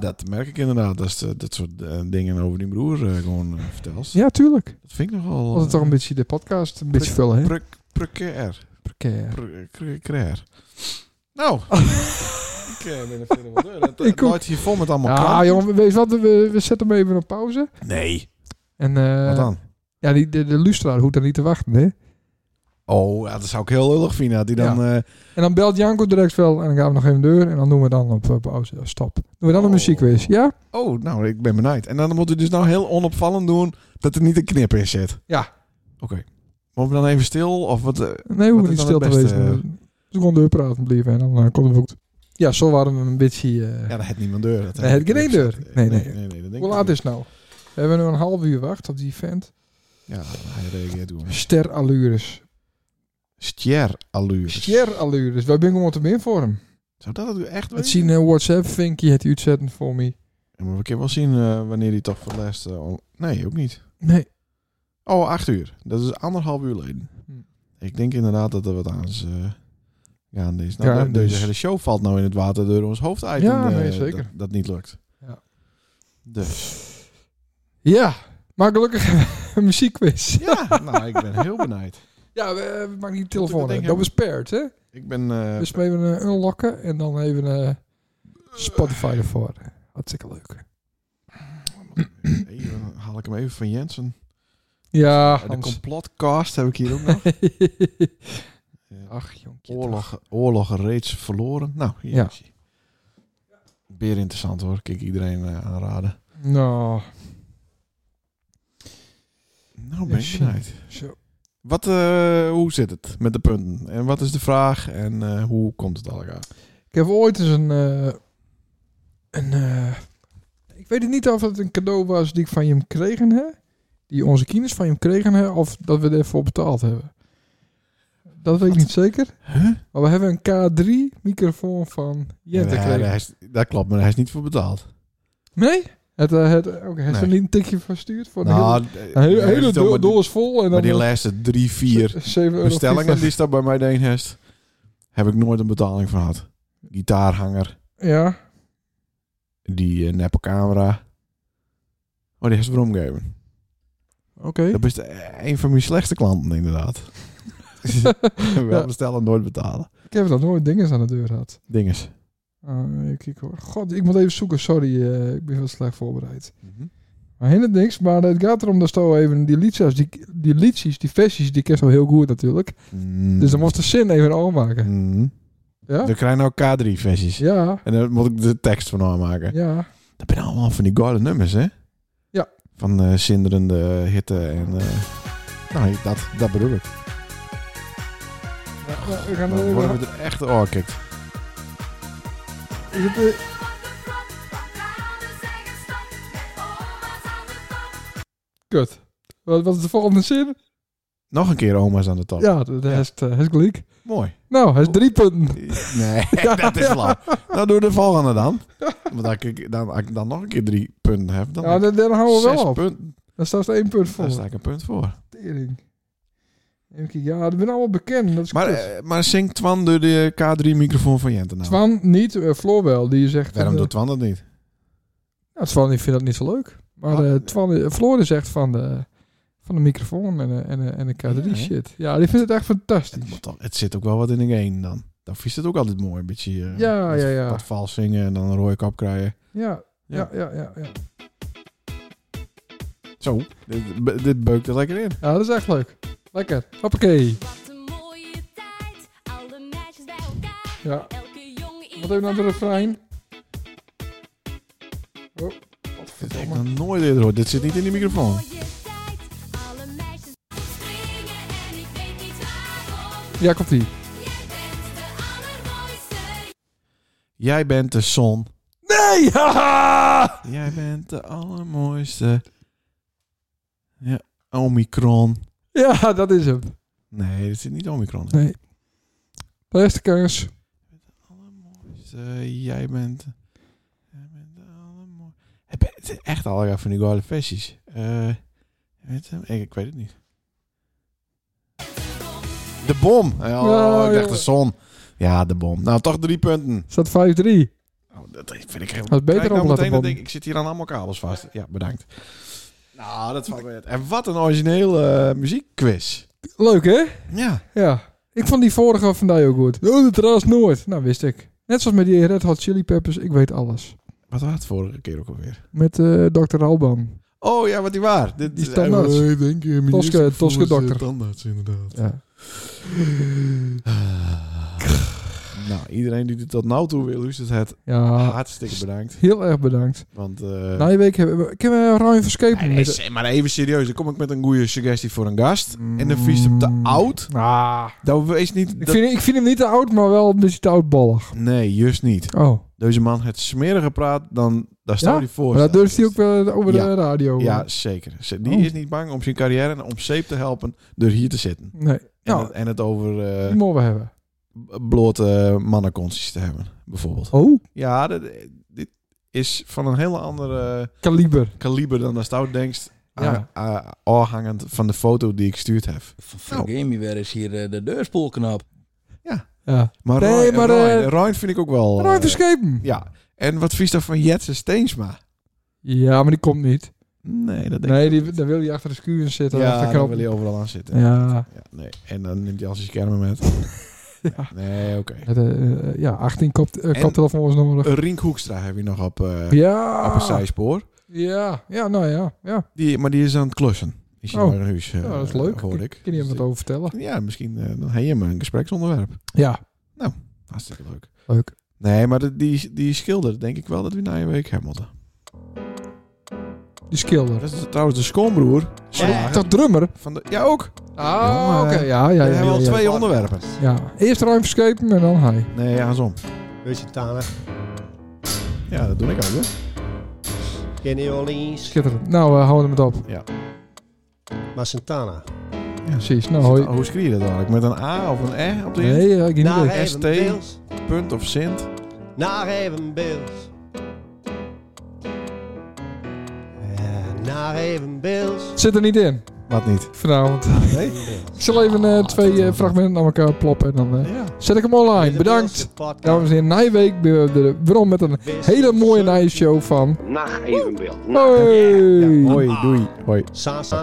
[SPEAKER 2] dat merk ik inderdaad. Dat, is de- dat soort eh, dingen over die broer eh, gewoon eh, vertelt.
[SPEAKER 1] Ja, tuurlijk.
[SPEAKER 2] Dat vind ik nogal...
[SPEAKER 1] Was het toch
[SPEAKER 2] eh,
[SPEAKER 1] een beetje de podcast een beetje vullen, hè?
[SPEAKER 2] prec- Precair.
[SPEAKER 1] Precair.
[SPEAKER 2] Pre- Precair.
[SPEAKER 1] *laughs*
[SPEAKER 2] Nou. ik eh, ben er verder wel door. Dat,
[SPEAKER 1] Oh. Ik
[SPEAKER 2] ik
[SPEAKER 1] ook.
[SPEAKER 2] hier vol met allemaal
[SPEAKER 1] Ja,
[SPEAKER 2] kranten.
[SPEAKER 1] jongen, weet je wat? We, we zetten hem even op pauze.
[SPEAKER 2] Nee.
[SPEAKER 1] En eh,
[SPEAKER 2] Wat dan?
[SPEAKER 1] ja, die, de, de lustraar hoeft daar niet te wachten, hè?
[SPEAKER 2] Oh, ja, dat zou ik heel lullig vinden. Dat hij dan... eh,
[SPEAKER 1] En dan belt Janko direct wel en dan gaan we nog even deur en dan doen we dan op eh, pauze. Ja, stop. Doen Doen we dan een muziekquiz? Ja?
[SPEAKER 2] Oh, nou, ik ben benieuwd. En dan moeten we dus nou heel onopvallend doen dat er niet een knip in zit.
[SPEAKER 1] Ja.
[SPEAKER 2] Oké. Mogen we dan even stil? Of wat? eh,
[SPEAKER 1] Nee, we hoeven
[SPEAKER 2] is
[SPEAKER 1] niet
[SPEAKER 2] dan
[SPEAKER 1] stil
[SPEAKER 2] het
[SPEAKER 1] te
[SPEAKER 2] beste,
[SPEAKER 1] wezen. Dus gewoon doorpraten blijven en dan eh, komt het goed. Ja, zo waren we een beetje... eh,
[SPEAKER 2] Ja, dat heeft niemand deur. Dat
[SPEAKER 1] Nee, het geen deur. Nee, nee.
[SPEAKER 2] nee, dat denk
[SPEAKER 1] Hoe
[SPEAKER 2] ik
[SPEAKER 1] laat
[SPEAKER 2] niet.
[SPEAKER 1] is het nou? We hebben nu een half uur wacht op die vent.
[SPEAKER 2] Ja, hij reageert gewoon.
[SPEAKER 1] Ster allures.
[SPEAKER 2] Stier allure.
[SPEAKER 1] Ster allures. Wij zijn gewoon te min voor hem.
[SPEAKER 2] Zou dat het echt
[SPEAKER 1] Het
[SPEAKER 2] wezen?
[SPEAKER 1] zien eh, WhatsApp, Vinky het uitzetten voor mij.
[SPEAKER 2] Ja, maar we kunnen wel zien eh, wanneer hij toch voor het laatst... eh, on- nee, ook niet.
[SPEAKER 1] Nee.
[SPEAKER 2] Oh, acht uur. Dat is anderhalf uur geleden.
[SPEAKER 1] Hm.
[SPEAKER 2] Ik denk inderdaad dat er wat aan is eh, gaande is. Nou,
[SPEAKER 1] Ja,
[SPEAKER 2] de- deze
[SPEAKER 1] dus-
[SPEAKER 2] hele show valt nou in het water door ons hoofditem.
[SPEAKER 1] Ja,
[SPEAKER 2] eh,
[SPEAKER 1] nee, zeker.
[SPEAKER 2] Dat, dat niet lukt.
[SPEAKER 1] Ja.
[SPEAKER 2] Dus.
[SPEAKER 1] Ja, maar gelukkig hebben we een muziekquiz.
[SPEAKER 2] Ja, nou, ik ben heel benijd.
[SPEAKER 1] Ja, we, eh, we maken die
[SPEAKER 2] Moeten we
[SPEAKER 1] telefoon
[SPEAKER 2] dat
[SPEAKER 1] uit.
[SPEAKER 2] ding
[SPEAKER 1] Dat was paired, hè?
[SPEAKER 2] Ik ben... eh,
[SPEAKER 1] Dus we even een unlocken en dan even eh, Spotify ervoor. Hartstikke leuk.
[SPEAKER 2] even- haal ik hem even van Jensen.
[SPEAKER 1] Ja,
[SPEAKER 2] de
[SPEAKER 1] Hans.
[SPEAKER 2] complotcast heb ik hier ook nog.
[SPEAKER 1] Ach, jonkje.
[SPEAKER 2] Oorlog, oorlogen reeds verloren. Nou, hier
[SPEAKER 1] Ja.
[SPEAKER 2] is hij. Weer interessant hoor. Kijk, iedereen eh, aanraden.
[SPEAKER 1] Nou,
[SPEAKER 2] Nou, ben
[SPEAKER 1] Ja,
[SPEAKER 2] je benijd.
[SPEAKER 1] zo.
[SPEAKER 2] Wat, eh, hoe zit het met de punten? En wat is de vraag? En eh, hoe komt het allemaal?
[SPEAKER 1] Ik heb ooit eens een... eh, een eh, ik weet het niet of het een cadeau was die ik van je hem kregen, hè? Die onze kinders van je hem kregen, hè? Of dat we ervoor betaald hebben. Dat weet ik niet zeker.
[SPEAKER 2] Huh?
[SPEAKER 1] Maar we hebben een K3-microfoon van Jente
[SPEAKER 2] Ja,
[SPEAKER 1] gekregen.
[SPEAKER 2] hij is- dat klopt, maar hij is niet voor betaald.
[SPEAKER 1] Nee? Het, eh, het, oké, hij is er
[SPEAKER 2] Nee.
[SPEAKER 1] niet een tikje verstuurd voor de hele,
[SPEAKER 2] Nou,
[SPEAKER 1] een hele,
[SPEAKER 2] eh,
[SPEAKER 1] hele
[SPEAKER 2] maar
[SPEAKER 1] do-
[SPEAKER 2] die-
[SPEAKER 1] doos vol. En
[SPEAKER 2] Maar
[SPEAKER 1] dan
[SPEAKER 2] die
[SPEAKER 1] eh,
[SPEAKER 2] laatste drie, vier
[SPEAKER 1] z- 7 euro.
[SPEAKER 2] bestellingen die staat bij mij deen heeft, heb ik nooit een betaling van gehad. Gitaarhanger,
[SPEAKER 1] Ja.
[SPEAKER 2] die eh, neppe camera. Oh, die heeft ze omgeven.
[SPEAKER 1] Oké.
[SPEAKER 2] Dat is de- eh, een van mijn slechtste klanten,
[SPEAKER 1] *laughs*
[SPEAKER 2] inderdaad. Wel
[SPEAKER 1] Ja.
[SPEAKER 2] bestellen, nooit betalen.
[SPEAKER 1] Ik heb dat nooit dingen aan de deur gehad.
[SPEAKER 2] Dinges.
[SPEAKER 1] Eh, ik, ik, hoor- God, ik moet even zoeken. Sorry, eh, ik ben heel slecht voorbereid. Maar hindert niks. Maar het gaat erom dat zo even die liedjes, die, die liedjes, die versies, die ken zo heel goed natuurlijk.
[SPEAKER 2] Mm.
[SPEAKER 1] Dus dan moest de zin even afmaken.
[SPEAKER 2] Mm.
[SPEAKER 1] Ja?
[SPEAKER 2] Dan krijg je nou K3-versies.
[SPEAKER 1] Ja.
[SPEAKER 2] En dan moet ik de tekst van aanmaken.
[SPEAKER 1] Ja.
[SPEAKER 2] Dat zijn allemaal van die gouden nummers, hè?
[SPEAKER 1] Ja.
[SPEAKER 2] Van eh, zinderende hitte en... eh, nou, dat, dat bedoel ik.
[SPEAKER 1] Ja, ja, we gaan
[SPEAKER 2] Dan
[SPEAKER 1] er
[SPEAKER 2] worden
[SPEAKER 1] even...
[SPEAKER 2] we er echt oh, oorkikt.
[SPEAKER 1] Is het, eh, Kut. Wat, wat is de volgende zin?
[SPEAKER 2] Nog een keer oma's aan de top.
[SPEAKER 1] Ja, dat is het, eh, is gelijk. *laughs*
[SPEAKER 2] Mooi.
[SPEAKER 1] Nou, hij is drie punten.
[SPEAKER 2] Nee, *laughs* dat is flauw. Nou, doe de volgende dan. Want als ik dan, als ik dan nog een keer drie punten heb, dan
[SPEAKER 1] Ja, dan, dan houden we
[SPEAKER 2] zes
[SPEAKER 1] wel op.
[SPEAKER 2] punten.
[SPEAKER 1] Dan staat er één punt voor.
[SPEAKER 2] Daar sta ik een punt voor.
[SPEAKER 1] Tering. Even kijken. Ja, dat ben allemaal bekend. Dat is
[SPEAKER 2] Maar,
[SPEAKER 1] kut.
[SPEAKER 2] eh, maar zingt Twan door de K3-microfoon van Jente nou?
[SPEAKER 1] Twan niet, eh Floor wel. Die zegt...
[SPEAKER 2] Waarom
[SPEAKER 1] eh,
[SPEAKER 2] doet Twan dat niet?
[SPEAKER 1] ja, Twan die vindt dat niet zo leuk. Maar
[SPEAKER 2] Ah,
[SPEAKER 1] eh Twan, eh, Floor die zegt van de, van de microfoon en, eh, en, eh, en de K3
[SPEAKER 2] Ja, hè?
[SPEAKER 1] shit. Ja, die vindt het echt
[SPEAKER 2] Het,
[SPEAKER 1] fantastisch.
[SPEAKER 2] moet toch- het zit ook wel wat in de game dan. Dan vies het ook altijd mooi. Een beetje eh,
[SPEAKER 1] Ja,
[SPEAKER 2] wat,
[SPEAKER 1] ja, ja.
[SPEAKER 2] wat vals zingen en dan een rode kap krijgen.
[SPEAKER 1] Ja, ja, ja, ja. ja.
[SPEAKER 2] Zo, dit, be- dit beukt er lekker in.
[SPEAKER 1] Ja, dat is echt leuk. Lekker. Hoppakee.
[SPEAKER 6] Wat een mooie tijd, alle meisjes bij elkaar.
[SPEAKER 1] Ja.
[SPEAKER 6] Elke jongen in
[SPEAKER 1] Wat even
[SPEAKER 2] nou
[SPEAKER 1] naar de refrein. Oh, wat
[SPEAKER 2] Dat heb ik
[SPEAKER 1] verdomme.
[SPEAKER 2] nog nooit eerder gehoord. Dit zit niet in die microfoon.
[SPEAKER 6] mooie tijd, alle meisjes springen en ik weet niet waarom.
[SPEAKER 1] Ja, komt ie.
[SPEAKER 6] Jij bent de allermooiste.
[SPEAKER 2] Jij bent de zon.
[SPEAKER 1] Nee! *laughs* haha!
[SPEAKER 2] Jij bent de allermooiste. Ja, Omicron.
[SPEAKER 1] Ja, dat is hem.
[SPEAKER 2] Nee, dit zit niet Omicron. in.
[SPEAKER 1] Nee. Beste kans.
[SPEAKER 2] allermooiste. Dus, eh, Jij bent. Jij bent de allermooiste. Heb je- Het is echt al van die gouden versies. Eh, weet je, ik, ik weet het niet. De bom. Oh,
[SPEAKER 1] Ja,
[SPEAKER 2] ik dacht de
[SPEAKER 1] ja.
[SPEAKER 2] zon. Ja, de bom. Nou, toch drie punten.
[SPEAKER 1] Staat 5-3.
[SPEAKER 2] Oh, dat vind ik heel...
[SPEAKER 1] Dat is beter
[SPEAKER 2] Kijk nou
[SPEAKER 1] dan
[SPEAKER 2] meteen,
[SPEAKER 1] de bom.
[SPEAKER 2] dat denk ik, ik zit hier aan allemaal kabels vast. Ja, bedankt. Nou, dat valt weer. En wat een originele eh, muziekquiz.
[SPEAKER 1] Leuk, hè?
[SPEAKER 2] Ja.
[SPEAKER 1] Ja. Ik vond die vorige van die ook goed. Oh, dat raast nooit. Nou, wist ik. Net zoals met die Red Hot Chili Peppers. Ik weet alles.
[SPEAKER 2] Wat was het vorige keer ook alweer?
[SPEAKER 1] Met eh Dr. Alban.
[SPEAKER 2] Oh ja, wat die waar. Dit
[SPEAKER 1] Die tandarts.
[SPEAKER 2] Eh, ik denk, eh, minister
[SPEAKER 1] Toske-
[SPEAKER 2] voor, eh,
[SPEAKER 1] Toske dokter.
[SPEAKER 2] Tandarts, inderdaad.
[SPEAKER 1] Ja.
[SPEAKER 2] Nou, iedereen die dit tot nu toe wil luistert, het
[SPEAKER 1] Ja,
[SPEAKER 2] hartstikke bedankt.
[SPEAKER 1] heel erg bedankt.
[SPEAKER 2] Want, eh,
[SPEAKER 1] Na je week hebben we... Ah. Nou, Ik heb eh, Ryan Verskepen.
[SPEAKER 2] nee, nee, maar even serieus, dan kom ik met een goede suggestie voor een gast. En dan vies hem te oud.
[SPEAKER 1] Ah,
[SPEAKER 2] Dat wees niet...
[SPEAKER 1] Mm. ik,
[SPEAKER 2] dat-
[SPEAKER 1] vind, ik vind hem niet te oud, maar wel een beetje te oudballig.
[SPEAKER 2] Nee, juist niet.
[SPEAKER 1] Oh,
[SPEAKER 2] Deze man het smeriger praat, dan daar staat
[SPEAKER 1] Ja,
[SPEAKER 2] hij voor.
[SPEAKER 1] maar dat durft hij ook wel eh, over
[SPEAKER 2] Ja.
[SPEAKER 1] de radio.
[SPEAKER 2] Ja, zeker. Ze- Die
[SPEAKER 1] Oh.
[SPEAKER 2] is niet bang om zijn carrière en om zeep te helpen door hier te zitten.
[SPEAKER 1] Nee,
[SPEAKER 2] En,
[SPEAKER 1] nou,
[SPEAKER 2] het, en het over eh,
[SPEAKER 1] die mogen we hebben.
[SPEAKER 2] blote mannenconsies te hebben, bijvoorbeeld.
[SPEAKER 1] Oh,
[SPEAKER 2] Ja, dat- dit is van een hele andere eh,
[SPEAKER 1] kaliber.
[SPEAKER 2] kaliber dan dat Stout denkt.
[SPEAKER 1] Ja.
[SPEAKER 2] a- a- Afhangend van de foto die ik gestuurd heb.
[SPEAKER 1] Nou.
[SPEAKER 7] Vergeet me weer eens hier eh, de deurspoelknap.
[SPEAKER 1] Ja.
[SPEAKER 2] Maar
[SPEAKER 1] Nee,
[SPEAKER 2] Ryan,
[SPEAKER 1] maar, eh,
[SPEAKER 2] Ryan- Ryan vind ik ook wel...
[SPEAKER 1] Ryan
[SPEAKER 2] eh,
[SPEAKER 1] Verskepen.
[SPEAKER 2] ja. En wat vies dan van Jetsen Steensma?
[SPEAKER 1] Ja, maar die komt niet.
[SPEAKER 2] Nee, dat denk ik
[SPEAKER 1] Nee, die, dan wil hij achter de schuur zitten.
[SPEAKER 2] Ja,
[SPEAKER 1] achter de
[SPEAKER 2] dan
[SPEAKER 1] knop.
[SPEAKER 2] wil je overal aan zitten.
[SPEAKER 1] Ja,
[SPEAKER 2] Ja, nee. En dan neemt hij al zijn schermen
[SPEAKER 1] *laughs*
[SPEAKER 2] met. Nee, oké.
[SPEAKER 1] het, eh, eh, ja 18 kop, eh,
[SPEAKER 2] En-
[SPEAKER 1] koptelefoons nodig.
[SPEAKER 2] Rink Hoekstra heb je nog op, eh
[SPEAKER 1] ja.
[SPEAKER 2] op een zijspoor.
[SPEAKER 1] Ja, ja, nou ja. Ja,
[SPEAKER 2] Die, maar die is aan het klussen. Is hier
[SPEAKER 1] Oh.
[SPEAKER 2] naar huis, eh,
[SPEAKER 1] ja dat is leuk.
[SPEAKER 2] hoor
[SPEAKER 1] Kun-
[SPEAKER 2] ik.
[SPEAKER 1] Kun je hem
[SPEAKER 2] Dus
[SPEAKER 1] wat over vertellen?
[SPEAKER 2] die- Ja, misschien eh, dan heb je hem een gespreksonderwerp.
[SPEAKER 1] Ja,
[SPEAKER 2] Hartstikke leuk.
[SPEAKER 1] leuk.
[SPEAKER 2] Nee, maar de- die, die schilder denk ik wel dat we na een week hebben moeten.
[SPEAKER 1] Die skilder.
[SPEAKER 2] Dat is trouwens de schoonbroer.
[SPEAKER 3] Ja.
[SPEAKER 2] slager
[SPEAKER 1] Dat drummer.
[SPEAKER 2] Van de, ja, ook.
[SPEAKER 1] Ah,
[SPEAKER 2] oké.
[SPEAKER 1] oké. Ja, ja,
[SPEAKER 2] we
[SPEAKER 1] ja.
[SPEAKER 2] hebben
[SPEAKER 1] ja,
[SPEAKER 2] al
[SPEAKER 1] ja.
[SPEAKER 2] twee onderwerpen.
[SPEAKER 1] Ja, eerst ruim verskepen en dan hij.
[SPEAKER 2] Nee, ja, andersom.
[SPEAKER 3] Beetje Tana.
[SPEAKER 2] Ja, dat doe ik ook. Hoor.
[SPEAKER 3] Kenny Orleans.
[SPEAKER 1] Schitterend. Nou, eh, houden we het op.
[SPEAKER 3] Maar Santana.
[SPEAKER 1] Precies. Nou, hoi.
[SPEAKER 2] Hoe schreef je dat eigenlijk? Met een A of een E op de
[SPEAKER 1] Nee, eh, ik niet.
[SPEAKER 3] Naar
[SPEAKER 1] weg.
[SPEAKER 3] even
[SPEAKER 2] ST.
[SPEAKER 3] Bills.
[SPEAKER 2] punt of Sint?
[SPEAKER 3] Naar even Bills. Eh, Naar even Bills.
[SPEAKER 1] Zit er niet in
[SPEAKER 2] Wat niet.
[SPEAKER 1] vanavond. Ik zal even eh, twee eh, fragmenten aan elkaar ploppen en dan eh,
[SPEAKER 2] Ja.
[SPEAKER 1] zet ik hem online. Bedankt. Dames en heren, Nijweek weer de- waarom met een hele mooie Nijshow van.
[SPEAKER 8] Nacht evenbeeld.
[SPEAKER 1] Hoi!
[SPEAKER 2] Hoi, doei. Hoi.
[SPEAKER 3] Sa, sa,